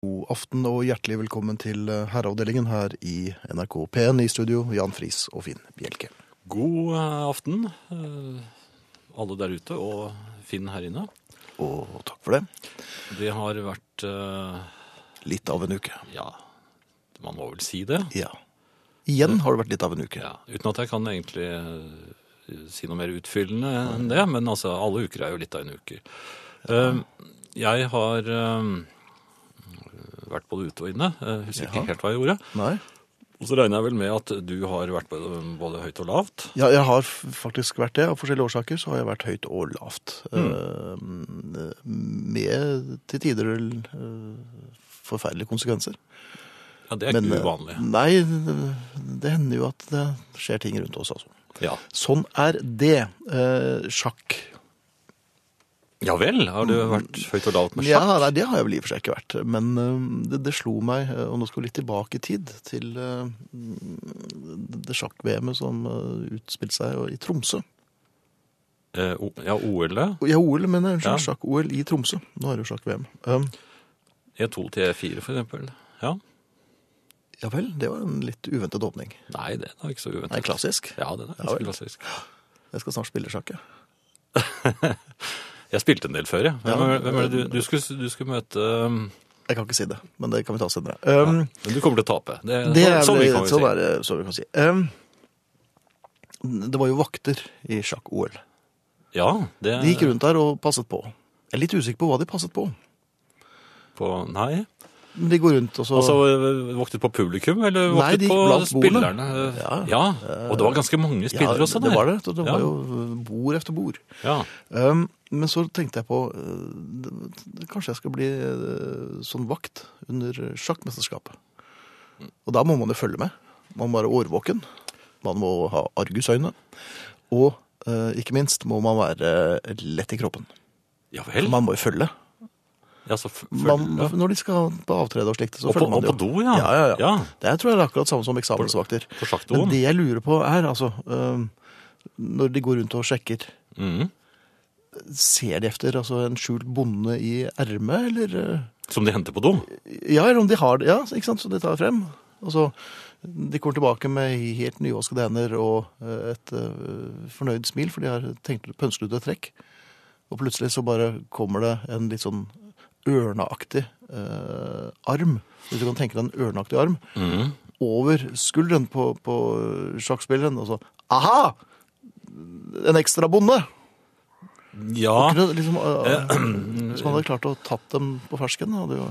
God aften og hjertelig velkommen til eh, herreavdelingen her i NRK P1 i studio, Jan Friis og Finn Bjelke. God eh, aften, eh, alle der ute, og Finn her inne. Og takk for det. Det har vært eh, Litt av en uke. Ja, man må vel si det. Ja. Igjen har det vært litt av en uke. Ja, uten at jeg kan egentlig eh, si noe mer utfyllende enn det, men altså, alle uker er jo litt av en uke. Eh, Jeg har eh, vært både ute og inne. eh, Husker Jaha. ikke helt hva jeg gjorde. Nei? Og så regner jeg vel med at du har vært både, både høyt og lavt. Ja, jeg har f- faktisk vært det. Av forskjellige årsaker så har jeg vært høyt og lavt. Mm. Eh, med til tider eh, forferdelige konsekvenser. Ja, Det er ikke eh, uvanlig. Nei, det- det hender jo at det skjer ting rundt oss, altså. Ja. Sånn er det. Eh, sjakk ja vel, har du vært høyt og lavt med sjakk? Ja, nei, det har jeg vel i og for seg ikke vært. Men øhm, det, det slo meg, øh, og nå skal vi litt tilbake i tid, til øh, det sjakk-VM-et som øh, utspilte seg i Tromsø. Eh, o- Ja, OL-et. Ja, OL, men unnskyld, Ja. sjakk-OL i Tromsø. Nå er det jo sjakk-VM. Um, E2 E til E4 for eksempel. Ja. ja vel, det var en litt uventet åpning. Nei, det er ikke så uventet. Nei, klassisk. Ja, det er Ja, ganske vel. klassisk. Jeg skal snart spille sjakk, jeg. Jeg spilte en del før, ja. Hvem, Ja. er- hvem er det du, du, skulle, du skulle møte um, Jeg kan ikke si det, men det kan vi ta senere. Um, Men du kommer til å tape. Det, Det er sånn vel vi kan sånn er vel si. det- sånn vi kan si. Um, det var jo vakter i sjakk-OL. Ja, det De gikk rundt der og passet på. Jeg er litt usikker på hva de passet på. på Nei. Men De går rundt og så Altså øh, voktet på publikum, eller Nei, voktet de gikk på blant bordene. spillerne? Ja. Og det var ganske mange spillere ja, også der. det var det. Det det Ja. var jo eh, bord efter bord. Ja. Um, men så tenkte jeg på uh, det- Kanskje jeg skal bli uh, sånn vakt under sjakkmesterskapet. Og da må man jo følge med. Man må være årvåken. Man må ha argusøyne. Og uh, ikke minst må man være eh, lett i kroppen. ja vel. Man må jo følge. Ja, så f- Man, følge. når de skal på avtrede og slikt, så Og på, følger man og det på jo. do, ja. Ja, ja, ja. ja. Det tror jeg er akkurat samme som eksamensvakter. På sjakkdoen. Men det jeg lurer på er, altså øhm, Når de går rundt og sjekker, Mhm. ser de efter altså, en skjult bonde i ermet, eller øh, Som de henter på do. Ja, eller om de har det, ja, ikke sant, så de tar frem. Og så de kommer tilbake med helt nyvaskede hender og øh, et øh, fornøyd smil, for de har tenkt å pønsle ut et trekk. Og plutselig så bare kommer det en litt sånn ørneaktig øh, arm. Hvis du kan tenke deg en ørneaktig arm. Mhm. over skulderen på, på sjakkspilleren og så Aha! En ekstra bonde! Ja. Kunne Liksom, øh, hvis man hadde klart å tatt dem på fersken hadde jo...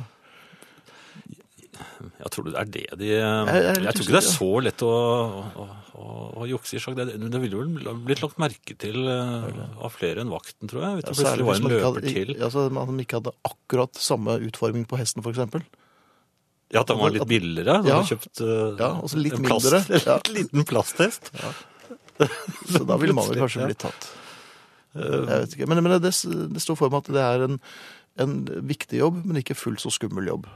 Jeg tror det er det de jeg Jeg, er litt tror ikke det er usikker, så lett å, å, å, å jukse i sjakk. Det, det ville vel blitt lagt merke til eh, av flere enn vakten, tror jeg. Vet du, plutselig var hvis en man ikke løper hadde- til. Altså, man ikke hadde akkurat samme utforming på hesten, for eksempel. Ja, at den var at- litt billigere. Du Ja. hadde kjøpt eh, Ja, og så litt en plast- mindre, ja. en liten plasthest. Så da ville man vel Plutselig, kanskje ja. blitt tatt. Jeg vet ikke. Men, men det, det står for meg at det er en, en viktig jobb, men ikke fullt så skummel jobb.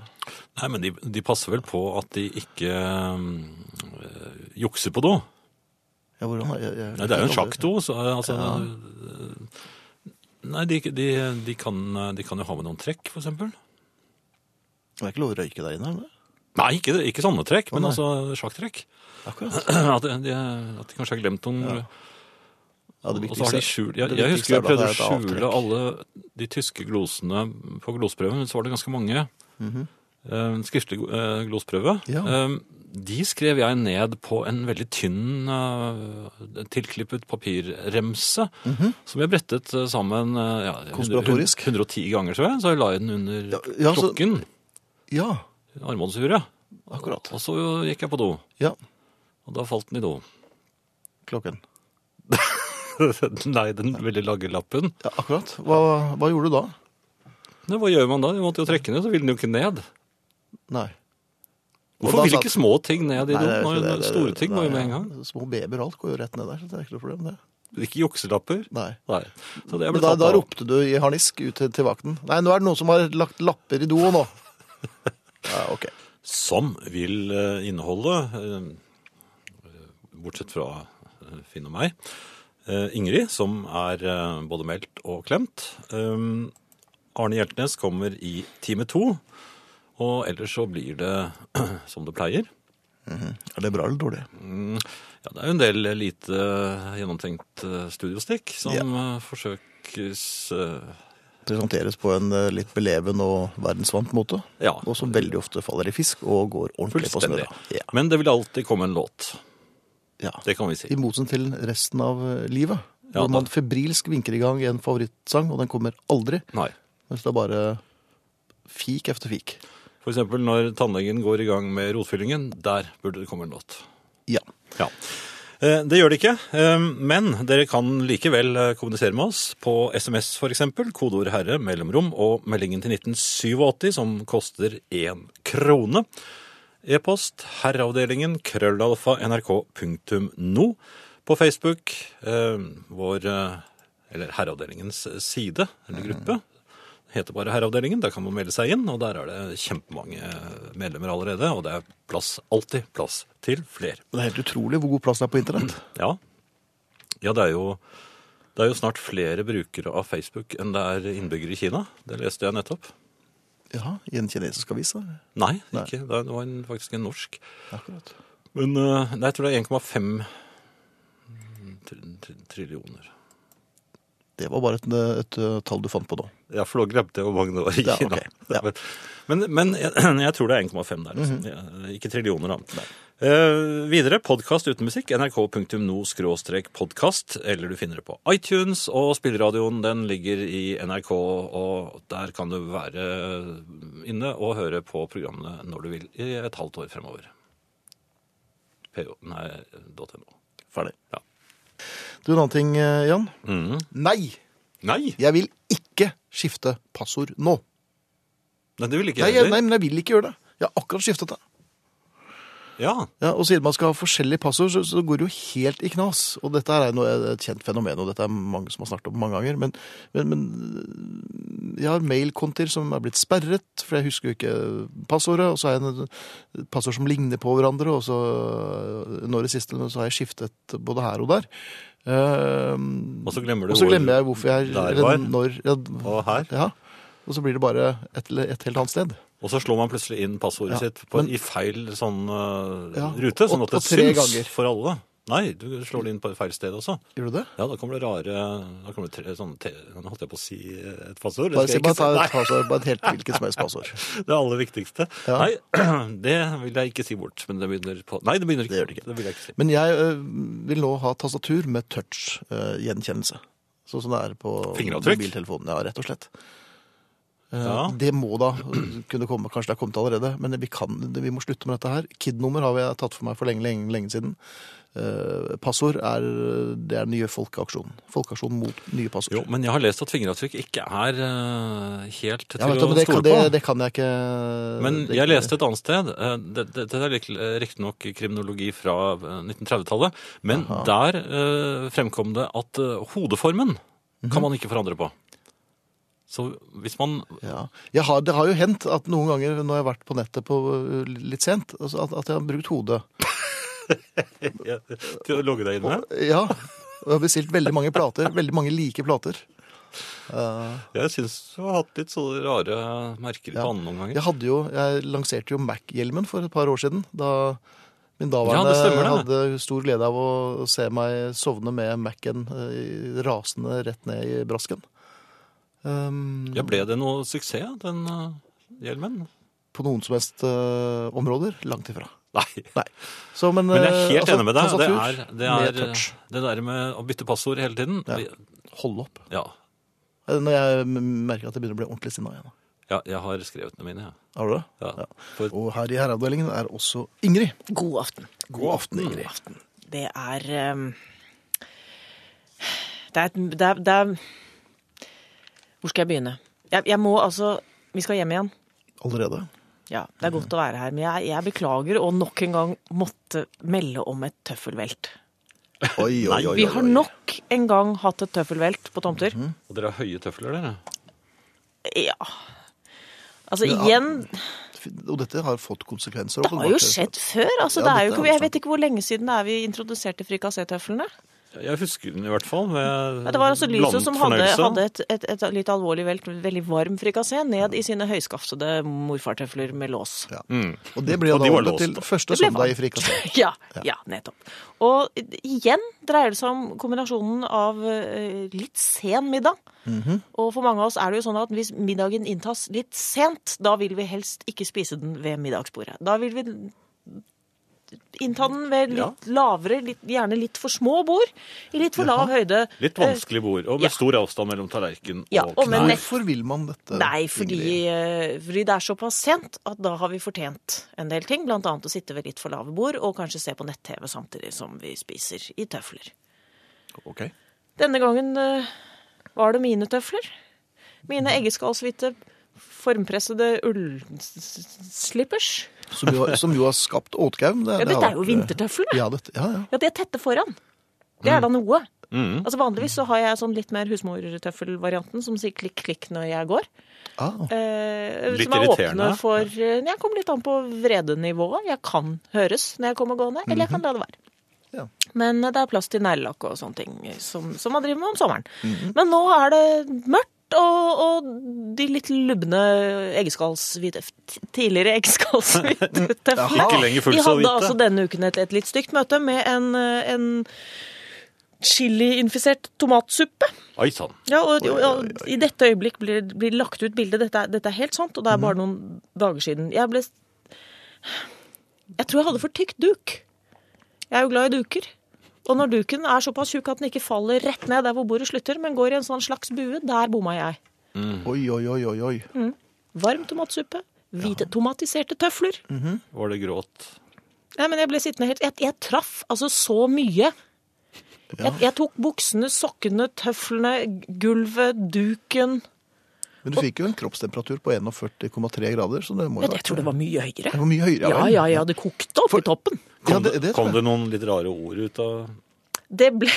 Nei, men de, de passer vel på at de ikke eh, jukser på do. Ja, hvordan, jeg, jeg, Nei, det er jo en sjakkdo, så eh, altså eh, Nei, de, de, de, kan, de kan jo ha med noen trekk, for eksempel. Det er ikke lov å røyke der inne, er det? Nei, ikke, ikke sånne trekk, men nei. altså sjakktrekk. Akkurat. At de, at de kanskje har glemt noen Ja, det Og så har viktigste- de skjult Jeg, det jeg viktigste husker er jeg vel at prøvde å det er et avtrekk. skjule alle de tyske glosene på glosprøven, men så var det ganske mange. Mhm. Eh, En skriftlig eh, glosprøve. Ja. Eh, De skrev jeg ned på en veldig tynn, eh, tilklippet papirremse, som jeg brettet eh, sammen eh, ja, Mhm. Konspiratorisk. 110 ganger, tror jeg. Så jeg la jeg den under ja, så- klokken. Ja, Armbåndsuret. akkurat. Og så gikk jeg på do. Ja, Og da falt den i do. klokken. Nei, den veldig lange lappen. Ja, akkurat. Hva, hva gjorde du da? Nei, hva gjør man da? De måtte jo trekke ned, så ville den jo ikke ned. Nei. Og da Hvorfor vil satt- ikke små ting ned Nei, i det er doen? ikke når det, det- Store ting må nei, jo med en gang. ja. Små babyer og alt går jo rett ned der, så det er ikke noe problem det. Ikke jukselapper. Nei. Nei. Så det Men ble da, tatt da av. ropte du i harnisk ut til, til vakten. Nei, nå er det noen som har lagt lapper i do nå. Ja, ok. Som vil eh, inneholde, eh, bortsett fra eh, Finn og meg, eh, Ingrid, som er eh, både Eh, meldt og klemt. Um, Arne Hjeltnes kommer i time to. Og ellers så blir det som det pleier. Er det bra eller dårlig? Mm, Ja, det er jo en del lite gjennomtenkt eh, studiostikk som eh, forsøkes eh, Presenteres på en eh, litt beleven og verdensvant måte. Ja, Og som veldig ofte faller i fisk og går ordentlig på fullstendig. snøra. Ja. Men det vil alltid komme en låt. Ja. Det kan vi si. I motsetning til resten av eh, livet. Ja, hvor da- man febrilsk vinker i gang en favorittsang, og den kommer aldri. Nei. Mens det er bare fik efter fik. For eksempel når tannlegen går i gang med rotfyllingen, der burde det komme en låt. Ja. Ja. Eh, Det gjør det ikke, eh, men dere kan likevel eh, kommunisere med oss på SMS for eksempel, kodeord herre, mellomrom og meldingen til 1987 som koster én krone. E-post herreavdelingen krøllalfa nrk.no. På Facebook, eh, vår eh, eller herreavdelingens side eller gruppe, heter bare Herreavdelingen. Der kan man melde seg inn, og der er det kjempemange eh, medlemmer allerede. Og det er plass, alltid plass til flere. Men det er helt utrolig hvor god plass det er på internett. Ja. Ja, det er jo det er jo snart flere brukere av Facebook enn det er innbyggere i Kina. Det leste jeg nettopp. Ja, I en kinesisk avis. da. Nei, Nei. ikke. Det var en, faktisk en norsk. Akkurat. Men eh, nei, jeg tror det er 1,5 mm, tri- tri- trillioner. Det var bare et, et, eh, tall du fant på nå. Ja, for da glemte jeg hvor mange det var i Ja, Kina. ok. Ja. Mhm. Men, men jeg, jeg tror det er 1,5 der. Altså. Eh, Ikke trillioner, da. Eh, videre podkast uten musikk. nrk.no-podkast. Eller du finner det på iTunes. Og spilleradioen den ligger i NRK, og der kan du være inne og høre på programmene når du vil i et halvt år fremover. PO, nei, .no. Ferdig. Ja. Du, en annen ting, eh, Jan. Mhm. Nei! Nei! Jeg vil ikke skifte passord nå. Nei, det vil ikke Nei, jeg jeg, nei, heller. men jeg vil ikke gjøre det. Jeg har akkurat skiftet det. Ja. Ja, og siden man skal ha forskjellige passord, så, så går det jo helt i knas. Og dette er noe, et kjent fenomen, og dette er mange som har snakket om mange ganger. Men, men, men jeg har mailkontier som er blitt sperret, for jeg husker jo ikke passordet. Og så har jeg en passord som ligner på hverandre, og så når det siste, så har jeg skiftet både her og der. Ehm, Og så glemmer du og så hvor- glemmer jeg hvorfor jeg der eller var. når, ja, Og her. ja. Og så blir det bare et, et helt annet sted. Og så slår man plutselig inn passordet Ja, sitt på, men- i feil sånn eh, Ja, rute, sånn og- at det og tre syns ganger. for alle. Nei, du slår det inn på feil sted også. Gjør du det? Ja, da kommer det rare Da kommer det tre, sånn te, Nå holdt jeg på å si et passord. Bare, si- Det skal jeg bare ikke ta et si. passord, bare et helt hvilket som helst passord. Nei, det aller viktigste. Ja. Nei, det vil jeg ikke si bort. Men det begynner på Nei, det begynner ikke. Det gjør det ikke. vil jeg ikke si. Men jeg ø, vil nå ha tastatur med touch-gjenkjennelse. sånn som det er på Fingeravtrykk? mobiltelefonen. Ja, rett og slett. Eh, Ja. Det må da kunne komme. Kanskje det har kommet allerede. Men vi, kan, vi må slutte med dette her. KID-nummer har jeg tatt for meg for lenge, lenge, lenge siden. Eh, Passord er, det er den nye folkeaksjonen. Folkeaksjonen mot nye passord. Jo, men jeg har lest at fingeravtrykk ikke er eh, helt til ja, vet du, å men det, stole kan, det, på. det kan jeg ikke Men Eh, det- jeg leste et annet sted eh, det- det- Dette er riktignok kriminologi fra eh, 1930-tallet, men Aha. der eh, fremkom det at eh, hodeformen Mhm. kan man ikke forandre på. Så hvis man Ja. Jeg har, det har jo hendt at noen ganger når jeg har vært på nettet på, ø, litt sent, altså at, at jeg har brukt hodet. Til å logge deg inn med? Ja. Og jeg har bestilt veldig mange plater. Veldig mange like plater. Eh, Jeg syns du har hatt litt så rare merker i Ja. pannen noen ganger. jeg hadde jo Jeg lanserte jo Mac-hjelmen for et par år siden. Da min Ja, det daværende stemmer det. hadde stor glede av å se meg sovne med Mac-en eh, rasende rett ned i brasken. Ehm, Ja, ble det noe suksess, den eh, hjelmen? På noen som helst eh, områder. Langt ifra. Nei. Nei. Så, men, Men jeg er eh, helt altså, enig med deg. Det tastatur er, det, er, med touch. det der med å bytte passord hele tiden Ja. vi- Holde opp. Eh, Ja. Når jeg m- merker at jeg begynner å bli ordentlig sinna igjen. ja. Jeg har skrevet ned mine, jeg. Har du det? Ja. Ja. For- Og her i herreavdelingen er også Ingrid. God aften. God aften, Mm. Ingrid. Det er ehm, det, er et, det, er, det er Hvor skal jeg begynne? Jeg, jeg må altså Vi skal hjem igjen. Allerede. Ja, Det er godt å være her. Men jeg, jeg beklager å nok en gang måtte melde om et tøffelvelt. Oi, oi, oi. Mhm. Vi har nok en gang hatt et tøffelvelt på tomter. Og dere har høye tøfler, dere? Ja. Altså Men, ja, igjen, Og dette har fått konsekvenser. det har jo skjedd før. Ja, altså det er dette jo er ikke, Jeg sant. vet ikke hvor lenge siden det er vi introduserte frikassé-tøflene. Jeg husker den i hvert fall. Med Ja, det var altså Lyset blandet som hadde, fornøyelse. hadde et, et, et litt alvorlig, velt, veldig varm frikassé ned i sine høyskaftede morfartøfler med lås. Mm. Og det ble jo Og da de var ordnet låst, til da. første Det ble søndag i frikassé. Ja, ja, nettopp. Og igjen dreier det seg om kombinasjonen av eh, litt sen middag. Og for mange av oss er det jo sånn at hvis middagen inntas litt sent, da vil vi helst ikke spise den ved middagsbordet. Da vil vi innta den ved litt Ja. lavere, litt, gjerne litt for små bord, i litt for lav høyde. Litt Eh, vanskelig bord, og ja. med stor avstand mellom tallerken Ja, og og med knær. nett- Hvorfor vil man dette? Nei, fordi, Ingrid? eh, fordi det er såpass sent at da har vi fortjent en del ting. Blant annet å sitte ved litt for lave bord og kanskje se på nett-TV samtidig som vi spiser i tøfler. Ok. Denne gangen eh, var det mine tøfler. Mine eggeskallshvite, formpressede ullslippers. Som jo, som jo har skapt Åtgaum. Ja, dette er jo vintertøfler. eh, Ja, dette, ja, ja. Ja, de er tette foran. Det er da noe. Mm. Altså Vanligvis så har jeg sånn litt mer husmortøffelvarianten som sier klikk-klikk når jeg går. Ah, Eh, Litt som er åpne irriterende. for eh, Jeg kommer litt an på vredenivået. Jeg kan høres når jeg kommer gående, eller jeg Mhm. kan la det være. Ja. Men eh, det er plass til neglelakk og sånne ting eh, som, som man driver med om sommeren. Men nå er det mørkt, og, og de litt lubne eggeskallshvite t- Tidligere eggeskallshvite tøflene. Ikke lenger fullt De så hadde hvite. altså denne uken et, et litt stygt møte med en, eh, en chiliinfisert tomatsuppe. Oi sann. Ja, og, og, og i dette øyeblikk blir, blir lagt ut bilde. Dette, er- dette er helt sant, og det er bare noen dager siden. Jeg ble Jeg tror jeg hadde for tykk duk. Jeg er jo glad i duker. Og når duken er såpass tjukk at den ikke faller rett ned der hvor bordet slutter, men går i en sånn slags bue, der bomma jeg. oi, oi, oi, oi, oi. Varm tomatsuppe, hvite tomatiserte tøfler. Var det gråt? Nei, men jeg ble sittende helt Jeg, jeg traff altså så mye. Jeg, jeg tok buksene, sokkene, tøflene, gulvet, duken Men du fikk jo en kroppstemperatur på 41,3 grader, så det må jo Men jeg tror det var mye høyere. Det var mye høyere. Ja, vel? ja, ja, det kokte opp i toppen. Ja, Kom, det, det, kom tror jeg. det noen litt rare ord ut av Det ble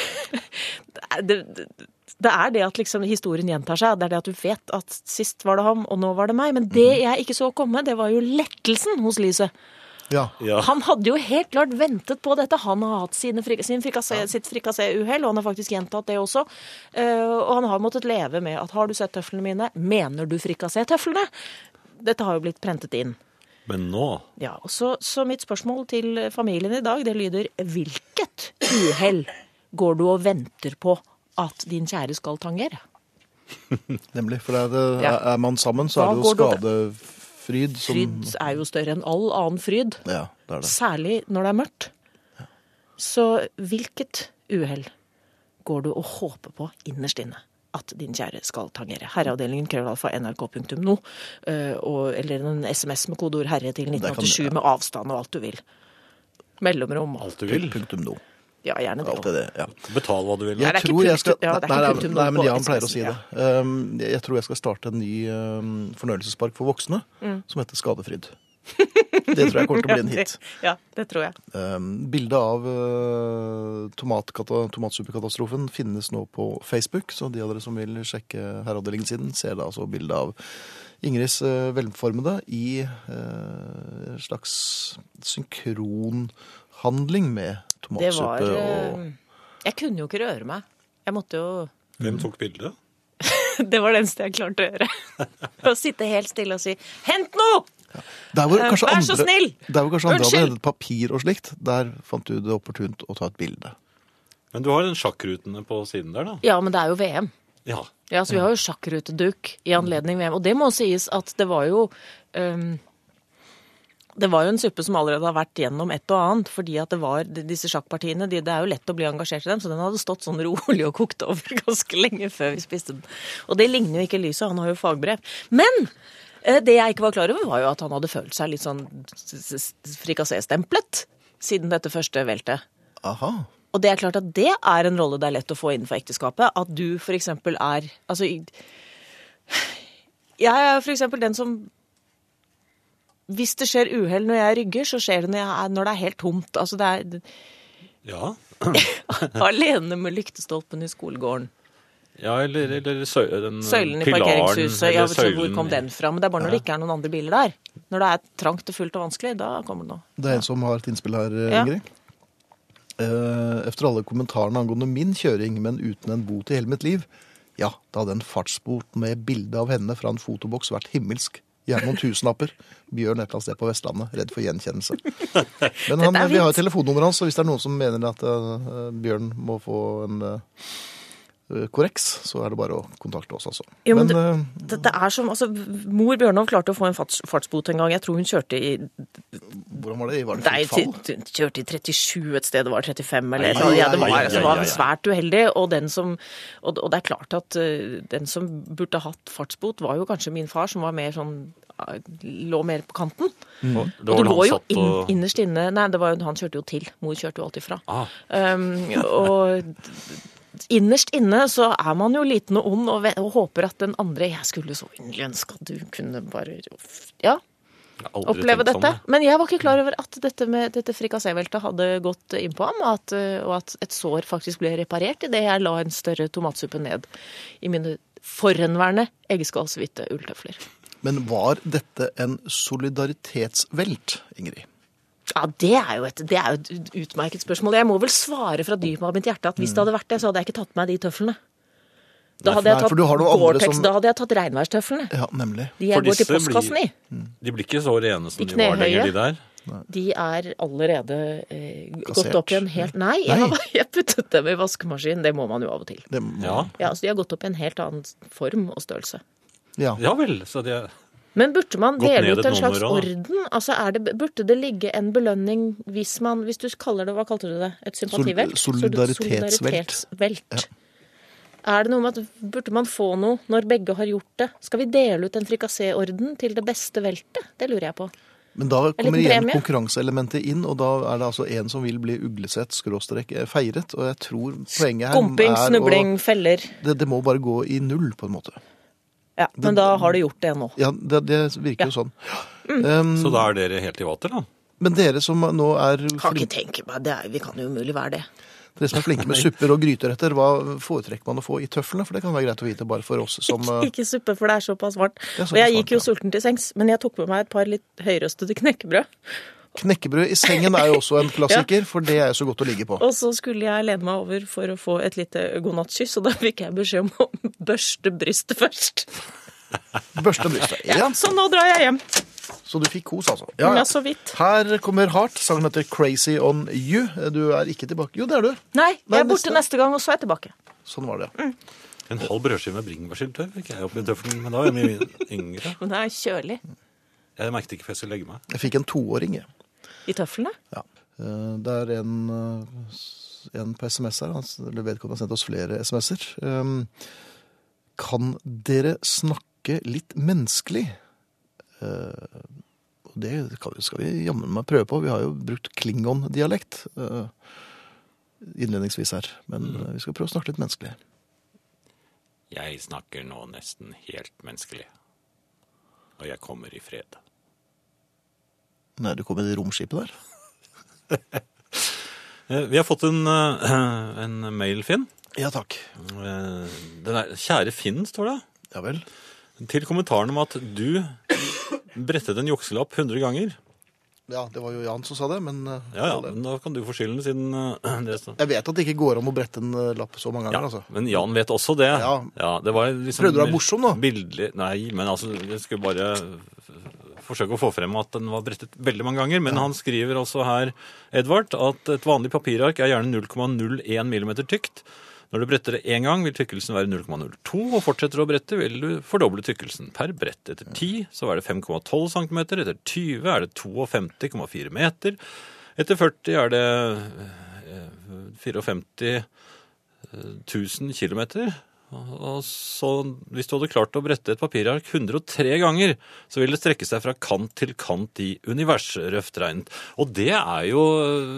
det, det, det er det at liksom historien gjentar seg. Det er det at du vet at sist var det ham, og nå var det meg. Men det jeg ikke så komme, det var jo lettelsen hos Lise. Ja. ja. Han hadde jo helt klart ventet på dette. Han har hatt sine frik sin frikassé, sitt frikasséuhell, og han har faktisk gjentatt det også. Eh, og han har måttet leve med at har du sett tøflene mine, mener du frikassétøflene? Dette har jo blitt prentet inn. Men nå Ja, og så, så mitt spørsmål til familien i dag, det lyder hvilket uhell går du og venter på at din kjære skal tangere? Nemlig. For det er, det, Ja. er- er man sammen, så Da er det jo går det- skadefryd som Fryd er jo større enn all annen fryd, Ja, det er det. særlig når det er mørkt. Så hvilket uhell går du og håper på innerst inne? At din kjære skal tangere. Herreavdelingen krøllalfa nrk.no. eh, og- Eller en SMS med kodeord 'herre' til kan- 1987 med avstand og alt du vil. Mellomrom. alt du vil. Punktum no. Ja, gjerne det. Alt det, det, ja. Betal hva du vil. Ja, Jeg det er ikke tror jeg skal, punktum- ja, det er nei, ikke nei, punktum nei, på men Jan pleier å SMS, si det. Um, jeg tror jeg skal starte en ny um, fornøyelsespark for voksne som heter Skadefryd. Det tror jeg kommer til å bli en hit. Mm. Ja, det tror jeg. Um, bildet av eh, tomatkata- tomatsuppekatastrofen finnes nå på Facebook, så de av dere som vil sjekke herreavdelingen sin, ser da altså bildet av Ingrids eh, velformede i eh, en slags synkronhandling med Det var tomatsuppe og eh, Jeg kunne jo ikke røre meg. Jeg måtte jo Hvem tok bildet? Det var det eneste jeg klarte å gjøre. Å sitte helt stille og si 'hent noe!' Der hvor Eh, kanskje vær så andre- snill! Der hvor kanskje andre hadde Unnskyld! hentet papir og slikt, der fant du det opportunt å ta et bilde. Men du har den sjakkrutene på siden der, da? Ja, men det er jo VM. Ja. Ja, så vi har jo sjakkruteduk i anledning VM. Og det må sies at det var jo ehm, Det var jo en suppe som allerede har vært gjennom et og annet. fordi at det var de- disse sjakkpartiene de, Det er jo lett å bli engasjert i dem, så den hadde stått sånn rolig og kokt over ganske lenge før vi spiste den. Og det ligner jo ikke Lyset, han har jo fagbrev. Men eh, det jeg ikke var klar over, var jo at han hadde følt seg litt sånn s- s- s- frikassé-stemplet siden dette første veltet. Aha. Og det er klart at det er en rolle det er lett å få innenfor ekteskapet. At du for eksempel er Altså, i- jeg er for eksempel den som Hvis det skjer uhell når jeg rygger, så skjer det når, jeg er, når det er helt tomt. Altså, det Ja, er alene med lyktestolpen i skolegården. Mm, ja eller, eller sø, den Søylen i pilaren, parkeringshuset. Ja, eller vet du, hvor søylen kom i- den fra? Men det er bare når det ikke er noen andre biler der. Når det er trangt og fullt og vanskelig, da kommer det noe. Det er en som har et innspill her, Ja. Ingrid. eh, efter alle kommentarene angående min kjøring, men uten en bot i hele mitt liv. Ja, da hadde en fartsbot med bilde av henne fra en fotoboks vært himmelsk. Gjerne noen tusenlapper. Bjørn et eller annet sted på Vestlandet, redd for gjenkjennelse. Men han, Dette er vi har fint. jo telefonnummeret hans, så hvis det er noen som mener at eh, Bjørn må få en eh, korreks, så er det bare å kontakte oss, altså. Jo, men eh, Det, det er som, altså, Mor Bjørnov klarte å få en farts, fartsbot en gang. Jeg tror hun kjørte i, hvordan var det? Var det nei, fritt til, fall? til- kjørte i 37 et sted, det var 35 Ai, eller noe. Ja, det ai, var, ai, altså, ai, var ai, ai. svært uheldig. Og, den som, og, og det er klart at eh, den som burde hatt fartsbot, var jo kanskje min far, som var mer sånn eh, lå mer på kanten. Og det var Og det vel lå han jo satt inn, og innerst inne Nei, det var jo, han kjørte jo til. Mor kjørte jo alltid fra. ah, Um, og d- innerst inne så er man jo liten og ond og, ve- og håper at den andre Jeg skulle så inderlig ønske at du kunne bare ja, jeg har aldri oppleve tenkt sånn, dette. jeg. Men jeg var ikke klar over at dette med dette frikasséveltet hadde gått innpå ham, og at, uh, og at et sår faktisk ble reparert idet jeg la en større tomatsuppe ned i mine forhenværende eggeskallshvite ulltøfler. Men var dette en solidaritetsvelt, Ingrid? Ja, det er jo et, det er jo et ut- utmerket spørsmål. Jeg må vel svare fra dypet av mitt hjerte at hvis det hadde vært det, så hadde jeg ikke tatt på meg de tøflene. Da hadde jeg nei, for tatt du har noe andre Gore-Tex, som- da hadde jeg tatt regnværstøflene. Ja, nemlig. For De jeg går til disse blir- postkassen i. De blir ikke så rene som De de var lenger, knehøye. de der. De er allerede eh, Kassert. gått opp igjen helt Nei, jeg, Nei. har- jeg puttet dem i vaskemaskinen. Det må man jo av og til. Det må... Ja, Ja, så De har gått opp i en helt annen form og størrelse. ja. ja vel. Så det Men burde man Gått dele ned ut et en slags nummer også, da. orden? Altså, er det, Burde det ligge en belønning hvis man Hvis du kaller det Hva kalte du det? Et sympativelt? Sol- solidaritetsvelt. Solidaritetsvelt. Er det noe med at Burde man få noe når begge har gjort det? Skal vi dele ut en frikasséorden til det beste veltet? Det lurer jeg på. Men da kommer liten igjen premie. konkurranseelementet inn, og da er det altså en som vil bli uglesett, skråstrek, eh, feiret, og jeg tror poenget her Gumping, er å- snubling, feller. det, det må bare gå i null, på en måte. Ja, Men da har du gjort det nå. Ja, det, det virker jo sånn. Um, Så da er dere helt i vater, da? men dere som nå er, Kan flin- ikke tenke meg det. er- Vi kan jo umulig være det. dere som er flinke med supper og gryteretter, hva foretrekker man å få i tøflene? For det kan være greit å vite bare for oss som eh, Ikke suppe, for det er såpass varmt. er såpass Og jeg gikk jo varmt, ja. sulten til sengs, men jeg tok med meg et par litt høyrøstede knekkebrød. Knekkebrød i sengen er jo også en klassiker, for det er jo så godt å ligge på. Og så skulle jeg lene meg over for å få et lite godnattkyss, og da fikk jeg beskjed om å børste brystet først. Børste brystet. Ja, Ja, så nå drar jeg hjem. så du fikk kos, altså. Ja, så vidt. Her kommer Heart. Sangen heter 'Crazy On You'. Du er ikke tilbake Jo, det er du. Nei, Nei, jeg er borte neste. neste gang, og så er jeg tilbake. Sånn var det, ja. Mm. En halv brødskive med bringebærsyltetøy fikk jeg oppi tøffelen, men da var jeg mye yngre. Men det er kjølig Jeg merket ikke før jeg skulle legge meg. Jeg fikk en toåring, jeg. i tøflene. Ja. Eh, Det er en, eh, s- en på SMS her, han s- eller vedkommende har sendt oss flere SMS-er. Um, Kan dere snakke litt menneskelig? Eh, og Det kan vi- skal vi jammen meg prøve på. Vi har jo brukt klingon-dialekt eh, innledningsvis her. Men eh, vi skal prøve å snakke litt menneskelig. Jeg snakker nå nesten helt menneskelig. Og jeg kommer i fred. Nei, du kom i det romskipet der. Eh, Vi har fått en, eh, en mail, Finn. Ja takk. Eh, Den er, Kjære Finn, står det. Ja vel. Til kommentaren om at du brettet en jukselapp 100 ganger. Ja, det var jo Jan som sa det, men eh, Ja, ja, men da kan du få skylden siden eh, det står. Jeg vet at det ikke går an å brette en eh, lapp så mange Ja, ganger, altså. men Jan vet også det. Ja. det var liksom Prøvde du å være morsom nå? Bildelig. Nei, men altså, jeg skulle bare f- forsøke å få frem at den var brettet veldig mange ganger. Men han skriver også her, Edvard, at et vanlig papirark er gjerne 0,01 millimeter tykt. Når du bretter det én gang, vil tykkelsen være 0,02, og fortsetter du å brette, vil du fordoble tykkelsen. Per brett etter 10 så er det 5,12 cm, etter 20 er det 52,4 meter, etter 40 er det eh, 54 1000 km. Og så, hvis du hadde klart å brette et papirark 103 ganger, så vil det strekke seg fra kant til kant i universet, røft regnet. Og det er jo,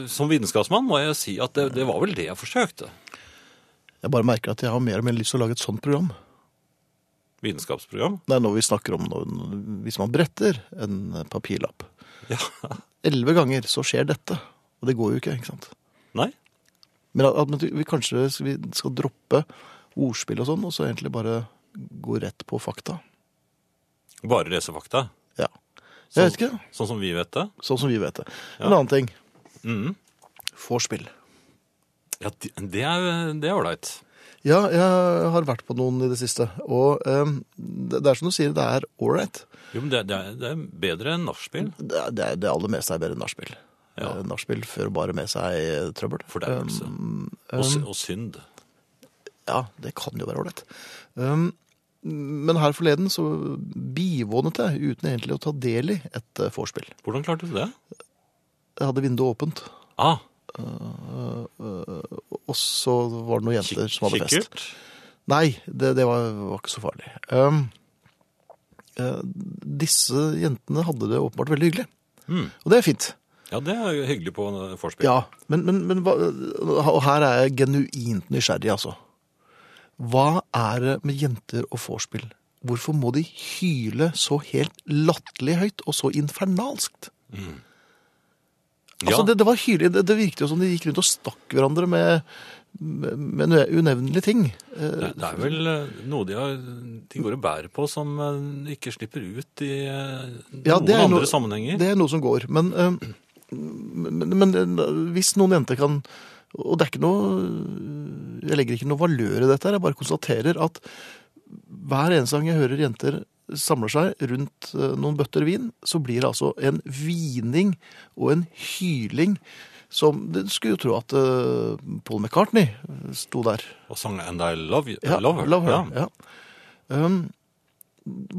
som vitenskapsmann, må jeg si at det, det var vel det jeg forsøkte. Jeg bare merker at jeg har mer og mer lyst til å lage et sånt program. Vitenskapsprogram. Det er når vi snakker om noe, hvis man bretter en eh, papirlapp. Ja. Elleve ganger så skjer dette. Og det går jo ikke, ikke sant. Nei? Men at, at vi kanskje skal- vi skal droppe ordspill og sånn, og så egentlig bare gå rett på fakta. Bare lese fakta. Ja. Sånn- Jeg vet ikke. Sånn som vi vet det. Sånn som vi vet det. Ja. En annen ting. Mhm. Vorspiel. Ja, det- det er det er ålreit. Ja, jeg har vært på noen i det siste. Og eh, det det er som du sier, det er ålreit. Jo, men det, det, er, det er bedre enn nachspiel. Det, er- det, er- det aller meste er bedre enn nachspiel. Ja. Eh, Nachspiel fører bare med seg eh, trøbbel. Fordervelse. Um, Og, sy- um, og synd. ja, det kan jo være ålreit. Um, men her forleden så bivånet jeg, uten egentlig å ta del i, et eh, vorspiel. Hvordan klarte du det? Jeg hadde vinduet åpent, eh, Ah, og så var det noen kik- jenter som hadde fest. kikkert. Nei, det, det var, var ikke så farlig. Um, eh, disse jentene hadde det åpenbart veldig hyggelig. Mm. Og det er fint. Ja, det er jo hyggelig på en, eh, forspill. Ja, men, men, men hva, eh, og her er jeg genuint nysgjerrig, altså. Hva er det med jenter og vorspiel? Hvorfor må de hyle så helt latterlig høyt og så infernalskt? Altså, Ja. det, det var hylig. Det, det virket jo som de gikk rundt og stakk hverandre med, med, med nø- unevnelige ting. Eh, Det, det er vel eh, noe de, har, de går og bærer på som eh, ikke slipper ut i eh, Ja, noen det er andre noe- sammenhenger. Det er noe som går. Men, eh, men, men eh, hvis noen jenter kan Og det er ikke noe Jeg legger ikke noe valør i dette, her, jeg bare konstaterer at hver eneste gang jeg hører jenter samler seg rundt eh, noen bøtter vin, så blir det altså en vining og en hyling som Du skulle jo tro at eh, Paul McCartney sto der. Og sang And I Love, you, Ja, love Her. love Ja. her, ja. Um,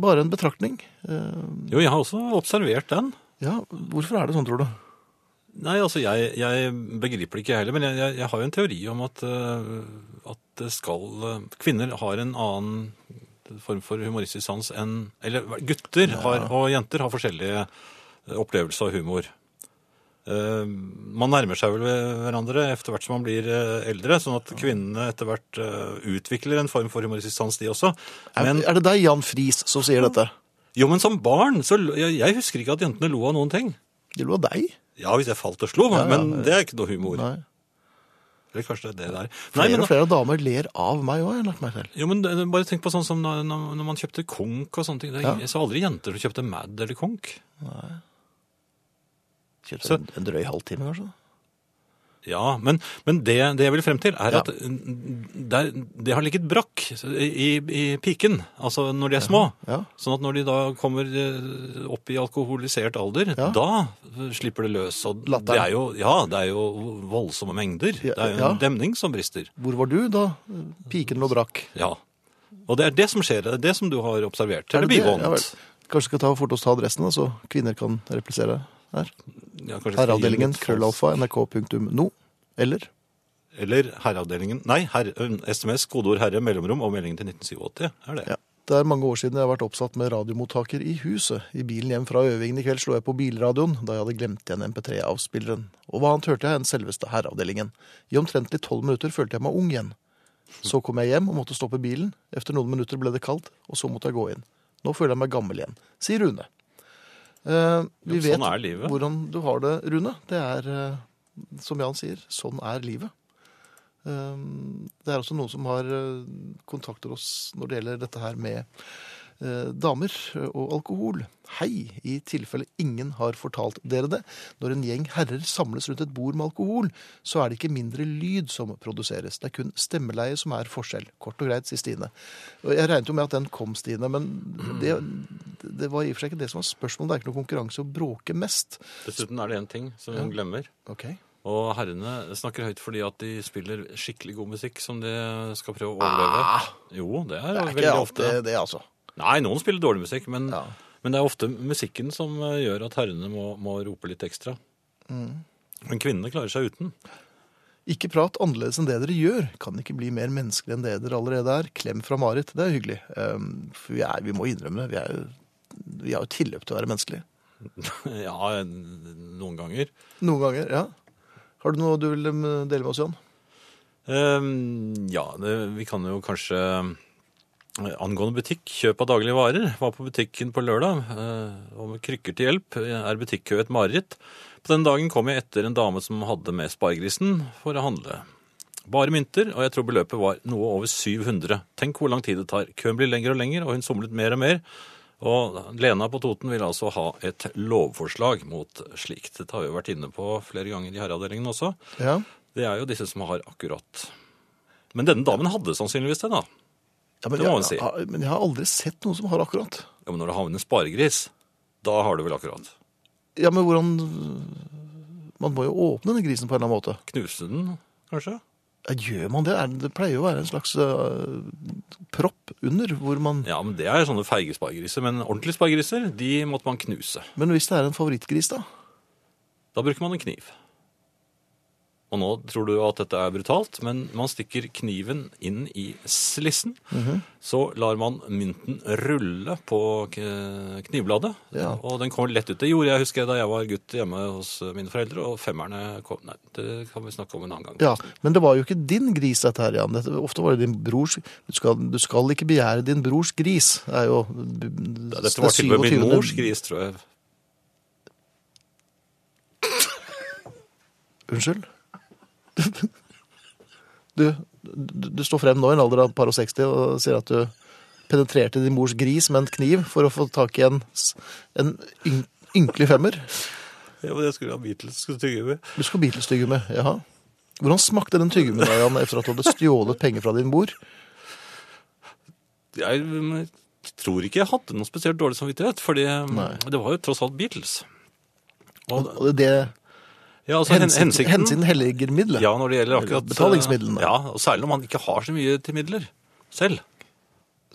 bare en betraktning. Eh, Jo, jeg har også observert den. ja, hvorfor er det sånn, tror du? Nei, altså, jeg, jeg begriper det ikke jeg heller, men jeg, jeg, jeg har jo en teori om at, eh, at det skal eh, Kvinner har en annen form for humoristisk sans enn Eller gutter har, og jenter har forskjellige eh, opplevelser av humor. Eh, Man nærmer seg vel hverandre etter hvert som man blir eh, eldre, sånn at kvinnene etter hvert eh, utvikler en form for humoristisk sans, de også. Er- Men, er det deg, Jan Friis, som sier dette? jo, men som barn så lo- jeg, jeg husker ikke at jentene lo av noen ting. Det lå deg? Ja, hvis jeg falt og slo, Ja, ja, men det er ikke noe humor. Nei. Eller kanskje det er det der. Nei, Flere men, og flere damer ler av meg òg, har jeg lagt merke til. jo, men det- Bare tenk på sånn som når, når når man kjøpte konk og sånne ting. Det, er- Ja. Jeg så aldri jenter som kjøpte Mad eller konk. Kjøpte Så- en, en drøy halvtime, kanskje? Ja, Men, men det, det jeg vil frem til, er Ja. at det, er- det har ligget brakk i, i piken. Altså når de er små. Ja. Sånn at når de da kommer eh, opp i alkoholisert alder, Ja. da slipper det løs. Og det Latteren. er jo, ja, det er jo voldsomme mengder. Ja, Det er jo ja. en demning som brister. Hvor var du da piken lå brakk? Ja. Og det er det som skjer. Det er det som du har observert. Er Eller det det? Ja bivånet. vel. Kanskje skal ta fort oss ta adressen, da, så kvinner kan replisere her. Ja, kanskje skal gi Herreavdelingen litt falsk- krøllalfa nrk.no. Eller? Eller herreavdelingen Nei, herre, ø, SMS, kodeord herre, mellomrom og meldingen til 1987. Er det? Ja. Det er mange år siden jeg har vært oppsatt med radiomottaker i huset. I bilen hjem fra øvingen i kveld slo jeg på bilradioen, da jeg hadde glemt igjen MP3-avspilleren. Og hva annet hørte jeg enn selveste herreavdelingen. I omtrentlig tolv minutter følte jeg meg ung igjen. Så kom jeg hjem og måtte stoppe bilen. Efter noen minutter ble det kaldt, og så måtte jeg gå inn. Nå føler jeg meg gammel igjen, sier Rune. Eh, vi Jo, vet sånn er livet. hvordan du har det, Rune. Det er, eh, som Jan sier, sånn er livet. Eh, det er også noen som har eh, kontakter oss når det gjelder dette her med eh, damer og alkohol. Hei, i tilfelle ingen har fortalt dere det. Når en gjeng herrer samles rundt et bord med alkohol, så er det ikke mindre lyd som produseres. Det er kun stemmeleie som er forskjell. Kort og greit, sier Stine. Og jeg regnet jo med at den kom, Stine, men det, det var i og for seg ikke det som var spørsmålet. Det er ikke noe konkurranse å bråke mest. Dessuten er det én ting som hun glemmer. Ok. Og herrene snakker høyt fordi at de spiller skikkelig god musikk som de skal prøve å overleve. Jo, det er, Ah! Det er veldig ikke ofte. alltid det, altså. Nei, noen spiller dårlig musikk, men, Ja. men det er ofte musikken som ø, gjør at herrene må, må rope litt ekstra. Mm. Men kvinnene klarer seg uten. Ikke prat annerledes enn det dere gjør. Kan ikke bli mer menneskelig enn det dere allerede er. Klem fra Marit. Det er hyggelig. Ehm, for vi, er, vi må innrømme det. Vi, er jo, vi har jo tilløp til å være menneskelige. ja, noen ganger. Noen ganger, ja. Har du noe du vil em, dele med oss, Jan? Ehm, ja, det, vi kan jo kanskje eh, Angående butikk, kjøp av daglige varer. Var på butikken på lørdag, eh, og med krykker til hjelp eh, er butikkø et mareritt. På den dagen kom jeg etter en dame som hadde med sparegrisen for å handle. Bare mynter, og jeg tror beløpet var noe over 700. Tenk hvor lang tid det tar. Køen blir lengre og lengre, og hun somlet mer og mer. Og Lena på Toten vil altså ha et lovforslag mot slikt. Dette har vi jo vært inne på flere ganger i herreavdelingen også. Ja. Det Det er jo disse som har akkurat. Men denne damen hadde sannsynligvis det, da. Ja, men, Det må man jeg, si. ja, men jeg har aldri sett noen som har akkurat. Ja, men når du har med en sparegris, da har du vel akkurat. Ja, men hvordan Man må jo åpne den grisen på en eller annen måte. Knuse den, kanskje? Ja, gjør man det? Er, det pleier jo å være en slags eh, propp under hvor man Ja, men det er sånne feige sparegriser. Men ordentlige sparegriser, de måtte man knuse. Men hvis det er en favorittgris, da? Da bruker man en kniv. Og nå tror du at dette er brutalt, men man stikker kniven inn i slissen. Mhm. Så lar man mynten rulle på k- knivbladet, Ja. og den kommer lett ut. Det gjorde jeg, husker jeg, da jeg var gutt hjemme hos mine foreldre, og femmerne kom Nei, det kan vi snakke om en annen gang. Ja, Men det var jo ikke din gris, dette her, Jan. Dette, ofte var det din brors du skal, du skal ikke begjære din brors gris. Det er jo Ja, Dette var til og med min mors gris, tror jeg. Unnskyld? Du, du, du står frem nå i en alder av et par og 60 og sier at du penetrerte din mors gris med en kniv for å få tak i en, s- en ynk- ynkelig femmer. Ja, men jeg skulle ha Beatles, skulle tygge med. Du skal Beatles-tygge med, jaha. Hvordan smakte den tyggegummi da, Jan, etter at du hadde stjålet penger fra din mor? Jeg mm, tror ikke jeg hadde noe spesielt dårlig samvittighet, fordi mm, Nei. det var jo tross alt Beatles. Og, Og det, ja, altså, hen- hensikten, hensikten, hensikten helliger middelet. Ja, når det gjelder akkurat Betalingsmidlene. Ja, og særlig når man ikke har så mye til midler selv.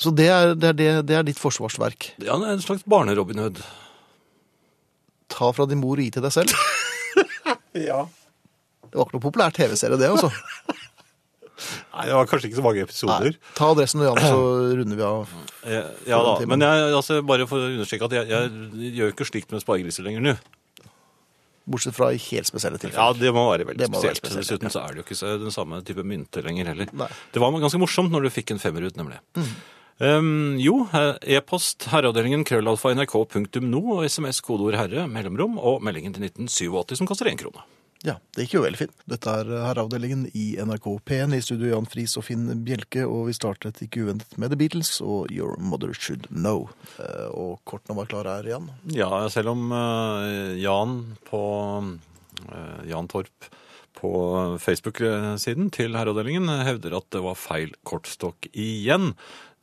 Så det er, det, er, det, det er ditt forsvarsverk. Ja, det er en slags barnerobinhood. Ta fra din mor og gi til deg selv. Det var ikke noe populær TV-serie, det, altså. Nei, det var kanskje ikke så mange episoder. Nei, ta adressen og Jan, så runder vi av. Eh, Ja da, men jeg, altså, bare for å understreke at jeg, jeg gjør jo ikke slikt med sparegriser lenger nå. Bortsett fra i helt spesielle Ja, tilfeller. det må være veldig Det må være spesielt, spesielt. Dessuten så er det jo ikke så- den samme type mynter lenger heller. Nei. Mm. Det var ganske morsomt når du fikk en femmer ut, nemlig. Um, jo, eh, e-post herreavdelingen krøllalfa nrk.no og sms kodeord herre, mellomrom og meldingen til 1987 som koster én krone. Ja, det gikk jo veldig fint. Dette er eh, herreavdelingen i NRK P1 i studio Jan Friis og Finn Bjelke, og vi startet ikke uventet med The Beatles og Your Mother Should Know. Eh, Og kortene var klare her, Jan. Ja, selv om eh, Jan på eh, Jan Torp på Facebook-siden til herreavdelingen hevder at det var feil kortstokk igjen.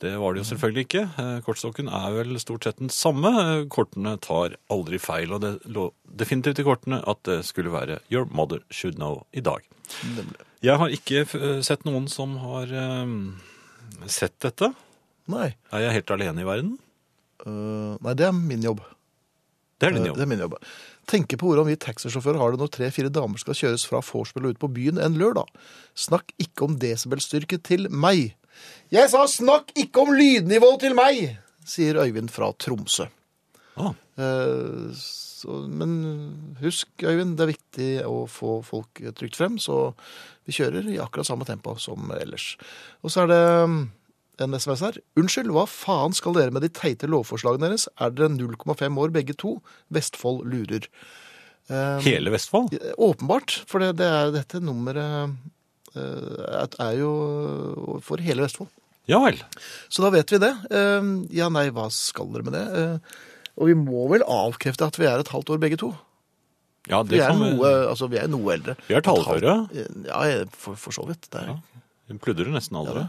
Det var det jo selvfølgelig ikke. Eh, Kortstokken er vel stort sett den samme. Eh, Kortene tar aldri feil, og det lå definitivt i kortene at det skulle være Your Mother Should Know i dag. Nemlig. Jeg har ikke eh, sett noen som har eh, sett dette. Nei. Er jeg helt alene i verden? Eh, nei, det er min jobb. Det er din jobb. Eh, Det er min jobb. Tenke på hvordan vi taxisjåfører har det når tre-fire damer skal kjøres fra vorspiel og ut på byen en lørdag. Snakk ikke om desibelstyrke til meg. Jeg sa snakk ikke om lydnivå til meg, sier Øyvind fra Tromsø. Ah, Eh, så, men husk, Øyvind, det er viktig å få folk trygt frem, så vi kjører i akkurat samme tempo som ellers. Og så er det mm, en SMS her. Unnskyld, hva faen skal dere med de teite lovforslagene deres? Er dere 0,5 år begge to? Vestfold lurer. Eh, hele Vestfold? Åpenbart, for det, det er, dette nummeret eh, er jo for hele Vestfold. Ja vel. Så da vet vi det. Eh, Ja, nei, hva skal dere med det? Eh, Og vi må vel avkrefte at vi er et halvt år begge to. Ja, Vi det er kan noe, altså, vi er noe eldre. Vi er taleføre. Eh, Ja, for, for så vidt. Det er. Ja. Vi pludrer nesten aldri.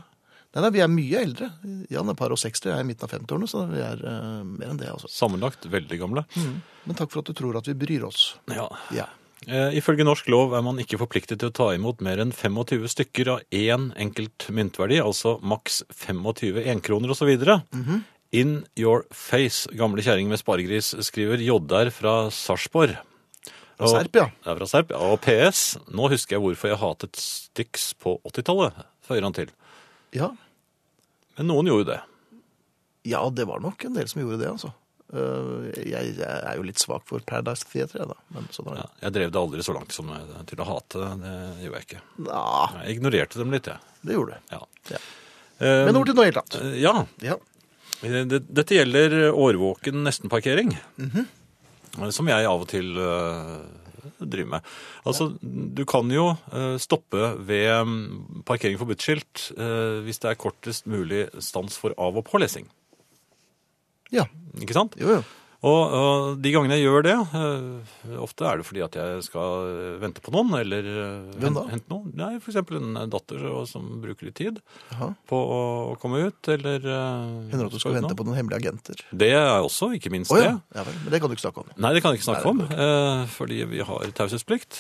Nei, nei, vi er mye eldre. Jan er par og 60, jeg er i midten av 50-årene, så vi er eh, mer enn det. altså. Sammenlagt veldig gamle. Men takk for at du tror at vi bryr oss. Ja. Ja. Eh, ifølge norsk lov er man ikke forpliktet til å ta imot mer enn 25 stykker av én enkelt myntverdi, altså maks 25 enkroner osv. Mhm. In your face, gamle kjerring med sparegris, skriver Joddar fra Sarpsborg. Fra Serp, ja. Ja, fra Serp. Ja, Og PS, nå husker jeg hvorfor jeg hatet Styx på 80-tallet, føyer han til. ja. Men noen gjorde jo det. Ja, det var nok en del som gjorde det, altså. Eh, Jeg, jeg er jo litt svak for Paradise Theatre, jeg, da. Men sånn er Ja, det. jeg drev det aldri så langt som eh, til å hate, det gjorde jeg ikke. Nja, Jeg ignorerte dem litt, jeg. det gjorde det. Ja. Ja. Eh, Men over til noe helt annet. eh, Ja. Ja. Det- Dette gjelder årvåken nestenparkering. Mhm. Eh, Som jeg av og til eh, driver med. Altså, du kan jo eh, stoppe ved mm, parkering forbudt skilt eh, hvis det er kortest mulig stans for av- og pålesing. ja. Ikke sant? Jo, jo. Og, og de gangene jeg gjør det, eh, ofte er det fordi at jeg skal vente på noen, eller eh, Hvem da? hen- hente noen. Nei, for eksempel en datter og- som bruker litt tid Jaha. på å å komme ut, eller eh, Hender det at du skal ut vente nå. på noen hemmelige agenter? Det er også, ikke minst Å ja. det. ja vel, men det kan du ikke snakke om. Nei, det kan jeg ikke snakke Nei, om, eh, fordi vi har taushetsplikt.